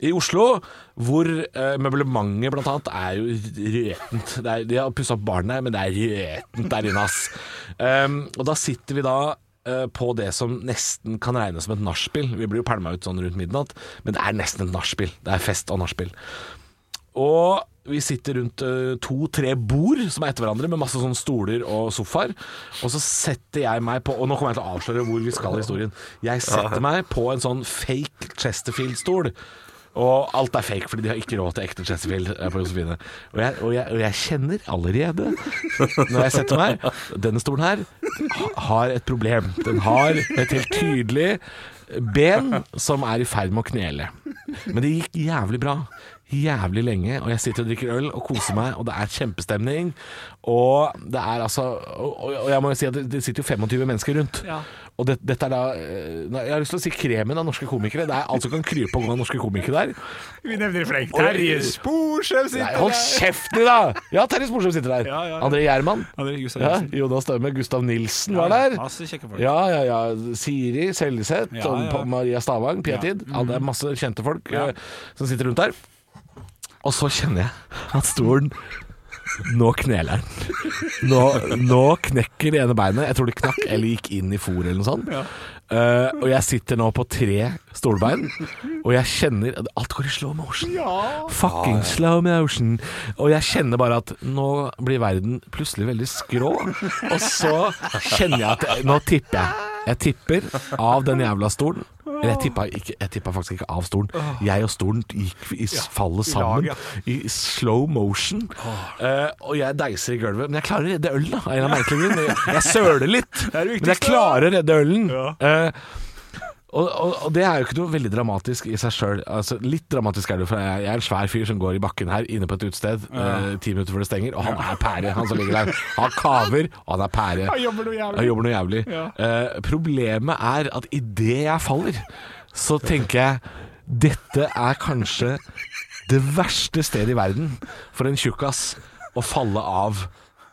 Speaker 3: i Oslo, hvor eh, møblementet blant annet er jo røtent. Det er, de har pussa opp baren der, men det er røtent der inne, ass. Ehm, og da sitter vi da eh, på det som nesten kan regnes som et nachspiel. Vi blir jo pælma ut sånn rundt midnatt, men det er nesten et nachspiel. Det er fest og nachspiel. Og vi sitter rundt eh, to-tre bord som er etter hverandre, med masse sånne stoler og sofaer. Og så setter jeg meg på Og nå kommer jeg til å avsløre hvor vi skal i historien. Jeg setter meg på en sånn fake Chesterfield-stol. Og alt er fake, fordi de har ikke råd til ekte Chesterfield eh, på Josefine. Og jeg, og, jeg, og jeg kjenner allerede, når jeg setter meg Denne stolen her ha- har et problem. Den har et helt tydelig ben som er i ferd med å knele. Men det gikk jævlig bra. Jævlig lenge, og jeg sitter og drikker øl og koser meg, og det er kjempestemning. Og det er altså Og, og jeg må jo si at det- det sitter jo 25 mennesker rundt.
Speaker 4: Ja.
Speaker 3: Og det, dette er da eh, nei, Jeg har lyst til å si kremen av norske komikere. Det er alt som kan krype og gå av norske komikere der.
Speaker 4: Vi nevner i fleng.
Speaker 3: Terje
Speaker 4: Sporsem
Speaker 3: Nei, hold kjeften din, da! Ja, Terje Sporsem sitter der.
Speaker 4: Ja, ja, ja.
Speaker 3: André Gjerman.
Speaker 4: André Gustav
Speaker 3: Ja,
Speaker 4: Jensen.
Speaker 3: Jonas Staume. Gustav Nilsen
Speaker 4: Ja,
Speaker 3: var der.
Speaker 4: masse kjekke folk.
Speaker 3: Ja, ja, ja. Siri Seljeseth
Speaker 4: Ja,
Speaker 3: og
Speaker 4: ja.
Speaker 3: Pa- Maria Stavang. Piatid. Ja, det er masse kjente folk eh, som sitter rundt der. Og så kjenner jeg at stolen Nå kneler den. Nå, nå knekker det ene beinet. Jeg tror det knakk eller gikk inn i fôret eller noe sånt. Eh, og jeg sitter nå på tre stolbein, og jeg kjenner at Alt går i slow motion. Fucking slow motion. Og jeg kjenner bare at nå blir verden plutselig veldig skrå. Og så kjenner jeg at Nå tipper jeg. Jeg tipper av den jævla stolen. Men jeg tippa, ikke, jeg tippa faktisk ikke av stolen. Jeg og stolen gikk i s- fallet
Speaker 4: i
Speaker 3: sammen
Speaker 4: lag,
Speaker 3: i slow motion.
Speaker 4: Ah.
Speaker 3: Eh, og jeg deiser i gulvet. Men jeg klarer å redde ølen, da. av En av merkelige grunner. Jeg- Jeg søler litt,
Speaker 4: er det
Speaker 3: men jeg
Speaker 4: viktigste.
Speaker 3: klarer å redde ølen.
Speaker 4: Ja.
Speaker 3: Eh, og, og, og det er jo ikke noe veldig dramatisk i seg sjøl. Altså, litt dramatisk er det, for jeg, jeg er en svær fyr som går i bakken her inne på et utested eh, ti minutter før det stenger, og han er pære, han som ligger der. Han kaver, og han er pære.
Speaker 4: Han jobber noe jævlig.
Speaker 3: Han jobber noe jævlig.
Speaker 4: Ja.
Speaker 3: Eh, problemet er at idet jeg faller, så tenker jeg dette er kanskje det verste stedet i verden for en tjukkas å falle av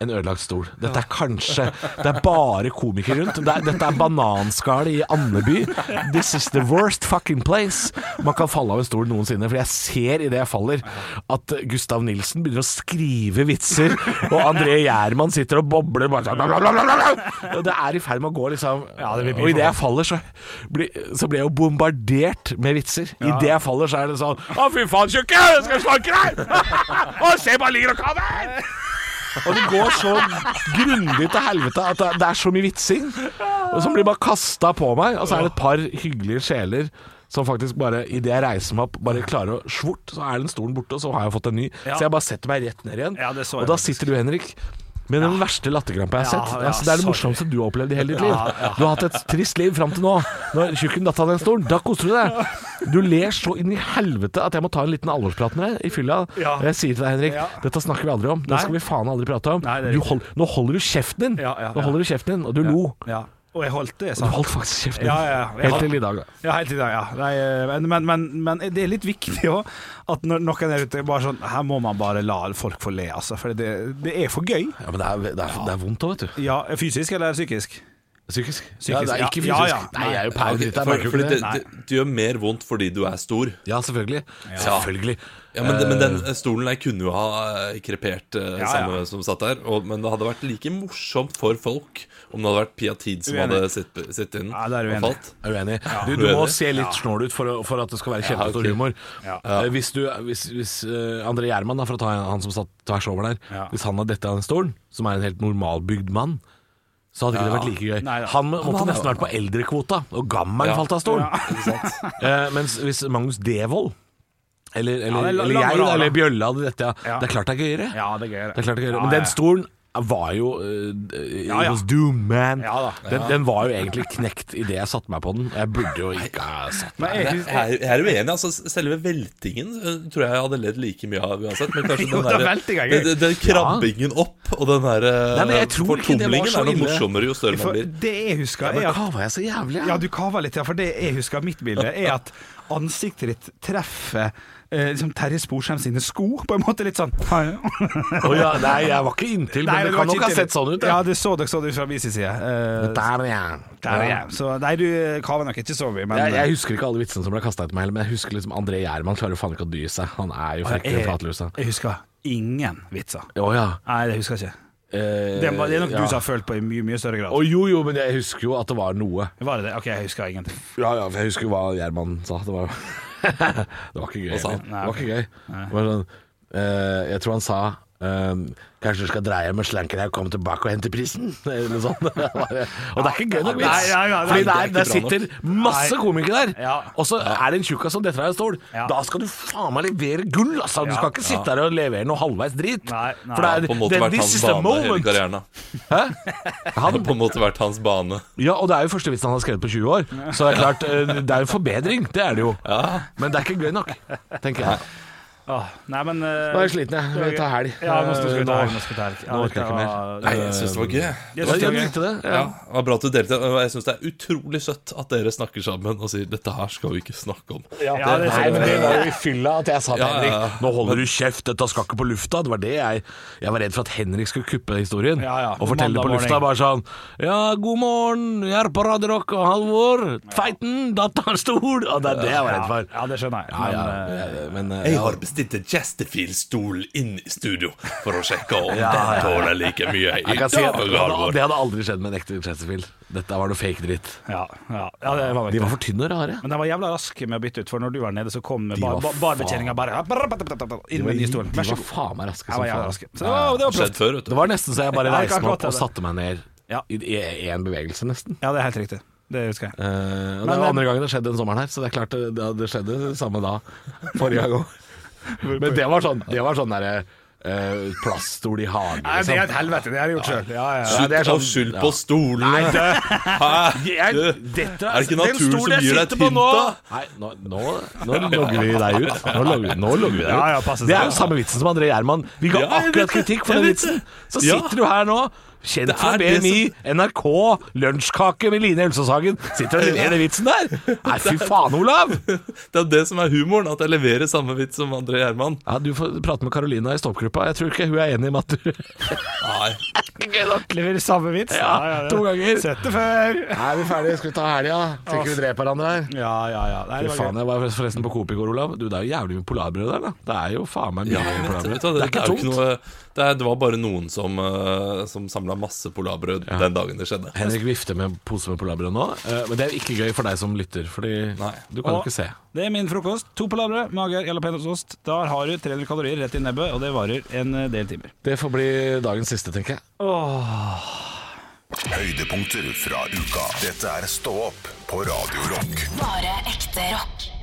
Speaker 3: en ødelagt stol. Dette er kanskje Det er bare komikere rundt. Det er, dette er bananskallet i Andeby. This is the worst fucking place man kan falle av en stol noensinne. For jeg ser idet jeg faller, at Gustav Nilsen begynner å skrive vitser, og André Gjerman sitter og bobler bare sånn bla, bla, bla, bla, bla. Og Det er i ferd med å gå, liksom.
Speaker 4: Ja, det blir mye
Speaker 3: og idet jeg faller, så blir, så blir jeg jo bombardert med vitser. Idet jeg faller, så er det sånn Å, fy faen, tjukke! Jeg skal slanke deg! Å, se, bare ligger og kaver! Og det går så grundig til helvete at det- det er så mye vitsing. Og som blir bare kasta på meg. Og så er det et par hyggelige sjeler som faktisk bare, idet jeg reiser meg opp, bare klarer å svort, så er den stolen borte, og så har jeg fått en ny.
Speaker 4: Ja.
Speaker 3: Så jeg bare setter meg rett ned igjen.
Speaker 4: Ja, det så jeg
Speaker 3: og da
Speaker 4: faktisk.
Speaker 3: sitter du, Henrik. Med den verste latterkrampa jeg har
Speaker 4: Ja,
Speaker 3: sett.
Speaker 4: ja,
Speaker 3: altså, det er det
Speaker 4: sorry.
Speaker 3: morsomste du har opplevd i hele ditt liv. Du har hatt et trist liv fram til nå. Når tjukken datt av den stolen, da koser du deg. Du ler så inn i helvete at jeg må ta en liten alvorsprat med deg i fylla.
Speaker 4: Ja.
Speaker 3: Og Jeg sier til deg, Henrik,
Speaker 4: Ja.
Speaker 3: dette snakker vi aldri om. Det
Speaker 4: Nei.
Speaker 3: skal vi faen aldri prate om.
Speaker 4: Nei, det er
Speaker 3: du
Speaker 4: riktig.
Speaker 3: hold, nå holder du kjeften din!
Speaker 4: Ja, ja,
Speaker 3: nå
Speaker 4: ja.
Speaker 3: holder du kjeften din, og du lo.
Speaker 4: Ja. Og jeg holdt det, jeg
Speaker 3: Du
Speaker 4: sa.
Speaker 3: holdt faktisk kjeften din.
Speaker 4: Ja, ja, ja. Jeg
Speaker 3: Helt
Speaker 4: har-
Speaker 3: til i dag. da.
Speaker 4: Ja, helt i dag, ja. Nei, men, men, men, men det er litt viktig òg at når noen er ute bare sånn Her må man bare la folk få le, altså. For det, det er for gøy.
Speaker 3: Ja, men det er, det er, det er vondt òg, vet du.
Speaker 4: Ja, Fysisk eller psykisk?
Speaker 3: Psykisk.
Speaker 4: Psykisk,
Speaker 3: Ja, det er ikke fysisk.
Speaker 4: ja. Ja, ja.
Speaker 3: Nei, jeg er jo pære
Speaker 5: Ok,
Speaker 3: dritt, jeg
Speaker 5: for-
Speaker 3: merker jo
Speaker 5: fordi
Speaker 3: ikke
Speaker 5: det,
Speaker 3: det.
Speaker 5: det, det gjør mer vondt fordi du er stor.
Speaker 3: Ja, selvfølgelig. Selvfølgelig.
Speaker 5: Ja, men, men den stolen der kunne jo ha eh, krepert eh,
Speaker 4: eh. ja.
Speaker 5: samme som satt der. Og, men det hadde vært like morsomt for folk om det hadde vært Pia Tid som
Speaker 4: Uenig.
Speaker 5: hadde sittet sitt inn
Speaker 4: Ja, det er
Speaker 5: og
Speaker 4: uenig.
Speaker 5: falt.
Speaker 3: Jeg er uenig. Du, du må
Speaker 5: uenig.
Speaker 3: se litt snål ut for, å- for at det skal være kjempestor
Speaker 5: ok.
Speaker 3: humor.
Speaker 4: Ja.
Speaker 3: Eh, Hvis, du, hvis, hvis eh, André Gjerman, da, for å ta han som satt tvers over der,
Speaker 4: Ja.
Speaker 3: hvis han hadde dette av den stolen, som er en helt normalbygd mann, så hadde ikke det vært like gøy.
Speaker 4: Nei, da.
Speaker 3: han må- måtte nesten vært på eldrekvota, og gammelen
Speaker 5: Ja.
Speaker 3: falt av stolen.
Speaker 5: Ikke sant?
Speaker 3: Eh, mens hvis Magnus Devold eller, eller,
Speaker 4: det er la-
Speaker 3: eller
Speaker 4: lang
Speaker 3: jeg, da,
Speaker 4: moral,
Speaker 3: eller
Speaker 4: da.
Speaker 3: Bjølle hadde dette, ja.
Speaker 4: Ja.
Speaker 3: Det er klart det er gøyere.
Speaker 4: Ja, det er gøy.
Speaker 3: Det er klart det er gøyere.
Speaker 4: Ja,
Speaker 3: Men
Speaker 4: ja.
Speaker 3: den stolen var jo eh, It
Speaker 4: Ja, ja.
Speaker 3: was doomed, man.
Speaker 4: Ja, da.
Speaker 3: Den, den var jo egentlig knekt idet jeg satte meg på den. Jeg burde jo ikke ha satt
Speaker 4: Men
Speaker 5: Jeg
Speaker 4: jeg, synes-
Speaker 5: er, jeg er uenig. altså Selve veltingen eh, tror jeg jeg hadde ledd like mye av uansett. Men kanskje
Speaker 4: Jo,
Speaker 5: den,
Speaker 4: da,
Speaker 5: der,
Speaker 4: velting er gøy.
Speaker 5: den, den, den krabbingen opp og den der eh,
Speaker 3: Nei, men jeg tror ikke det var
Speaker 5: fortumlingen
Speaker 3: så
Speaker 5: er noe
Speaker 3: ille.
Speaker 5: morsommere jo større man
Speaker 4: for
Speaker 5: blir.
Speaker 4: det jeg husker,
Speaker 3: Men
Speaker 4: er at
Speaker 3: kava jeg så jævlig?
Speaker 4: Ja, du kaver litt, ja. For det jeg husker av mitt bilde, er at ansiktet ditt treffer eh, liksom Terje Sporsheim sine sko, på en måte. Litt sånn Hei.
Speaker 3: Å ja, nei, jeg var ikke inntil,
Speaker 4: Nei,
Speaker 3: men det
Speaker 4: var
Speaker 3: kan
Speaker 4: ikke
Speaker 3: nok ha
Speaker 4: til-
Speaker 3: sett sånn ut. Ja.
Speaker 4: Ja, det så dere sånn ut fra min side. Eh,
Speaker 3: Der er jeg.
Speaker 4: der er jeg. Så nei, du eh, kaver nok ikke så mye, men eh,
Speaker 3: Jeg, jeg husker ikke alle vitsene som ble kasta etter meg heller, men jeg husker liksom André Gjerman klarer jo faen ikke å dy seg. Han er jo frekk i flatlusa.
Speaker 4: jeg husker ingen vitser.
Speaker 3: Å ja.
Speaker 4: Nei, det husker jeg ikke.
Speaker 3: Eh,
Speaker 4: Det, var- det er nok
Speaker 3: ja.
Speaker 4: du som har følt på i mye, mye større grad.
Speaker 3: Å jo, jo, men jeg husker jo at det var noe.
Speaker 4: Var det det? Ok, jeg husker ingenting.
Speaker 3: Ja, ja, for jeg husker hva Gjerman sa. Det var, det var ikke gøy.
Speaker 5: Hva sa han?
Speaker 3: eller? Det var ikke gøy. Det var sånn, eh, jeg tror han sa ehm, Kanskje du skal dra hjem og slanke deg og komme tilbake og hente prisen? Eller noe sånt. Og det er ikke gøy nok vits.
Speaker 4: Nei, ja, ja,
Speaker 3: Fordi der,
Speaker 4: nei,
Speaker 5: det er
Speaker 3: der
Speaker 5: ikke bra
Speaker 3: sitter masse
Speaker 4: Nei.
Speaker 3: komikere der,
Speaker 4: Ja.
Speaker 3: og så er det en tjukkas som detter av en stol.
Speaker 4: Ja.
Speaker 3: Da skal du faen meg levere gull, altså! Du
Speaker 4: Ja.
Speaker 3: skal ikke sitte der og levere noe halvveis drit.
Speaker 4: Nei, nei.
Speaker 3: For det
Speaker 5: På en
Speaker 3: er,
Speaker 5: måte
Speaker 3: det,
Speaker 5: vært
Speaker 3: this
Speaker 5: hans
Speaker 3: is the
Speaker 5: bane hele
Speaker 3: moment.
Speaker 5: karrieren. da.
Speaker 3: Han,
Speaker 5: På en måte vært hans bane.
Speaker 3: ja, og det er jo første vitsen han har skrevet på 20 år, så det er klart, eh, det er jo en forbedring. Det er det jo. Men det er ikke gøy nok, tenker jeg.
Speaker 4: Åh, nei, men eh,
Speaker 3: Nå er jeg sliten, jeg. Vi tar helg.
Speaker 4: Ja, nå skal vi ta
Speaker 3: Eh,
Speaker 4: helg. Nå skal vi ta helg. Ja,
Speaker 3: nå orker
Speaker 4: dette
Speaker 3: jeg ikke
Speaker 4: var-
Speaker 5: Nei, jeg syns det var gøy.
Speaker 4: Jeg
Speaker 5: Det
Speaker 4: synes
Speaker 5: var
Speaker 4: det
Speaker 3: Ja,
Speaker 4: var
Speaker 3: du
Speaker 4: gøy.
Speaker 3: likte det?
Speaker 5: Ja, det var bra at du delte og Jeg syns det er utrolig søtt at dere snakker sammen og sier 'dette her skal vi ikke snakke om'.
Speaker 4: Ja, det-
Speaker 3: Nei, men det var jo i fylla at jeg sa til
Speaker 5: Ja, ja, ja.
Speaker 3: Henrik Nå holder du kjeft, dette skal ikke på lufta. Det var det jeg Jeg var redd for at Henrik skulle kuppe historien
Speaker 4: Ja, ja.
Speaker 3: og fortelle det på
Speaker 4: Mandag
Speaker 3: lufta.
Speaker 4: morgen.
Speaker 3: Bare sånn Ja, god morgen, jeg er på Radio Rock og Halvor. Tveiten, datt av en stol. Og det er det jeg var redd
Speaker 4: Ja,
Speaker 3: for.
Speaker 4: ja, det skjønner jeg.
Speaker 3: Ja, ja,
Speaker 4: Men, eh,
Speaker 3: ja, men eh,
Speaker 5: Jeg
Speaker 3: ja.
Speaker 5: har bestilt en Chesterfield-stol inn i studio for å sjekke om
Speaker 3: Ja, ja, ja.
Speaker 5: den tåler like mye i
Speaker 3: Jeg kan si at
Speaker 5: dag,
Speaker 3: det hadde,
Speaker 5: Halvor.
Speaker 3: det hadde aldri skjedd med en ekte Chesterfield. Dette var noe fake dritt.
Speaker 4: ja, ja, ja, det var
Speaker 3: De
Speaker 4: vel
Speaker 3: var for tynne og rare.
Speaker 4: men de var jævla raske med å bytte ut, for når du var nede, så kom
Speaker 3: var
Speaker 4: bar- bar- barbetjeninga bare inn med ny stol.
Speaker 3: De
Speaker 4: Vær så
Speaker 3: var
Speaker 4: god.
Speaker 3: faen meg raske
Speaker 4: Jeg var
Speaker 3: som
Speaker 4: jævla
Speaker 3: faen.
Speaker 4: raske. Så det var, det var
Speaker 5: Skjedd
Speaker 4: proft.
Speaker 5: før, vet du.
Speaker 3: Det var nesten så jeg bare
Speaker 4: Ja, jeg
Speaker 3: reiste
Speaker 4: kan
Speaker 3: meg opp
Speaker 4: godt
Speaker 3: og
Speaker 4: ta det.
Speaker 3: satte meg ned
Speaker 4: Ja.
Speaker 3: i én bevegelse, nesten.
Speaker 4: Ja, det er helt riktig. det husker jeg.
Speaker 3: Eh, og det
Speaker 4: Men-
Speaker 3: er jo andre gangen det skjedde den sommeren her, så det er klart eh, det, det- det skjedde det samme da. Forrige gang òg. Men det var sånn, det var sånn derre eh, plaststol i hagen.
Speaker 4: Nei, det er
Speaker 3: liksom.
Speaker 4: et helvete, det har jeg gjort sjøl. Ja, ja, ja.
Speaker 3: Ja,
Speaker 5: Slutt
Speaker 3: det er
Speaker 5: å
Speaker 3: sånn-
Speaker 5: skylde
Speaker 3: ja.
Speaker 5: på stolene! Hæ? Du,
Speaker 4: dette
Speaker 5: er det ikke
Speaker 4: den
Speaker 5: naturen
Speaker 4: stolen
Speaker 5: som
Speaker 4: jeg
Speaker 5: gir deg
Speaker 4: sitter
Speaker 5: et
Speaker 4: på
Speaker 5: hint,
Speaker 4: nå-
Speaker 5: da?
Speaker 3: Nei, nå, nå, nå logger vi deg ut. Nå logger, nå logger vi deg ut.
Speaker 4: Ja, ja, pass deg.
Speaker 3: det er jo samme vitsen som André Gjerman. Vi ga
Speaker 5: Ja, jeg vet
Speaker 3: akkurat
Speaker 5: det.
Speaker 3: kritikk for
Speaker 5: Jeg
Speaker 3: den
Speaker 5: vet
Speaker 3: vitsen.
Speaker 5: det.
Speaker 3: Så
Speaker 5: Ja.
Speaker 3: sitter du her nå, kjent
Speaker 5: Det er
Speaker 3: fra
Speaker 5: det
Speaker 3: BMI, NRK, lunsjkake med Line Elsåshagen. Sitter du og leverer den vitsen der? Nei, fy faen, Olav!
Speaker 5: Det er jo det som er humoren, at jeg leverer samme vits som André Gjerman.
Speaker 3: Ja, Du får prate med Carolina i stoppgruppa. Jeg tror ikke hun er enig med at du
Speaker 5: Nei.
Speaker 4: Leverer samme vits?
Speaker 3: Ja, to ganger.
Speaker 4: Sett det før.
Speaker 3: Nei, vi er ferdige. Skal vi ta helga? Tenker vi dreper hverandre her.
Speaker 4: Ja, ja, ja. Nei,
Speaker 3: Fy
Speaker 4: det var
Speaker 3: faen,
Speaker 4: gøy.
Speaker 3: jeg var forresten på Coop i går, Olav. Du, Det er jo jævlig mye polarbrød der, da. Det er jo faen meg mye
Speaker 5: Ja, men vet,
Speaker 3: polarbrød.
Speaker 5: vet du, hva, det,
Speaker 3: ikke
Speaker 5: er jo ikke
Speaker 3: tungt.
Speaker 5: noe, det, er, det var bare noen som, uh, som samla masse polarbrød den dagen det skjedde.
Speaker 3: Henrik vifter med en pose med polarbrød nå, eh, men det er ikke gøy for deg som lytter, fordi
Speaker 5: Nei.
Speaker 3: du kan jo
Speaker 4: Og-
Speaker 3: ikke se.
Speaker 4: Det er min frokost. To palabre, mager, jalapeñosost. Der har du 300 kalorier rett i nebbet, og det varer en eh, del timer.
Speaker 3: Det får bli dagens siste, tenker jeg.
Speaker 1: Høydepunkter fra uka. Dette er Stå opp på Radio Rock.
Speaker 2: Bare ekte rock.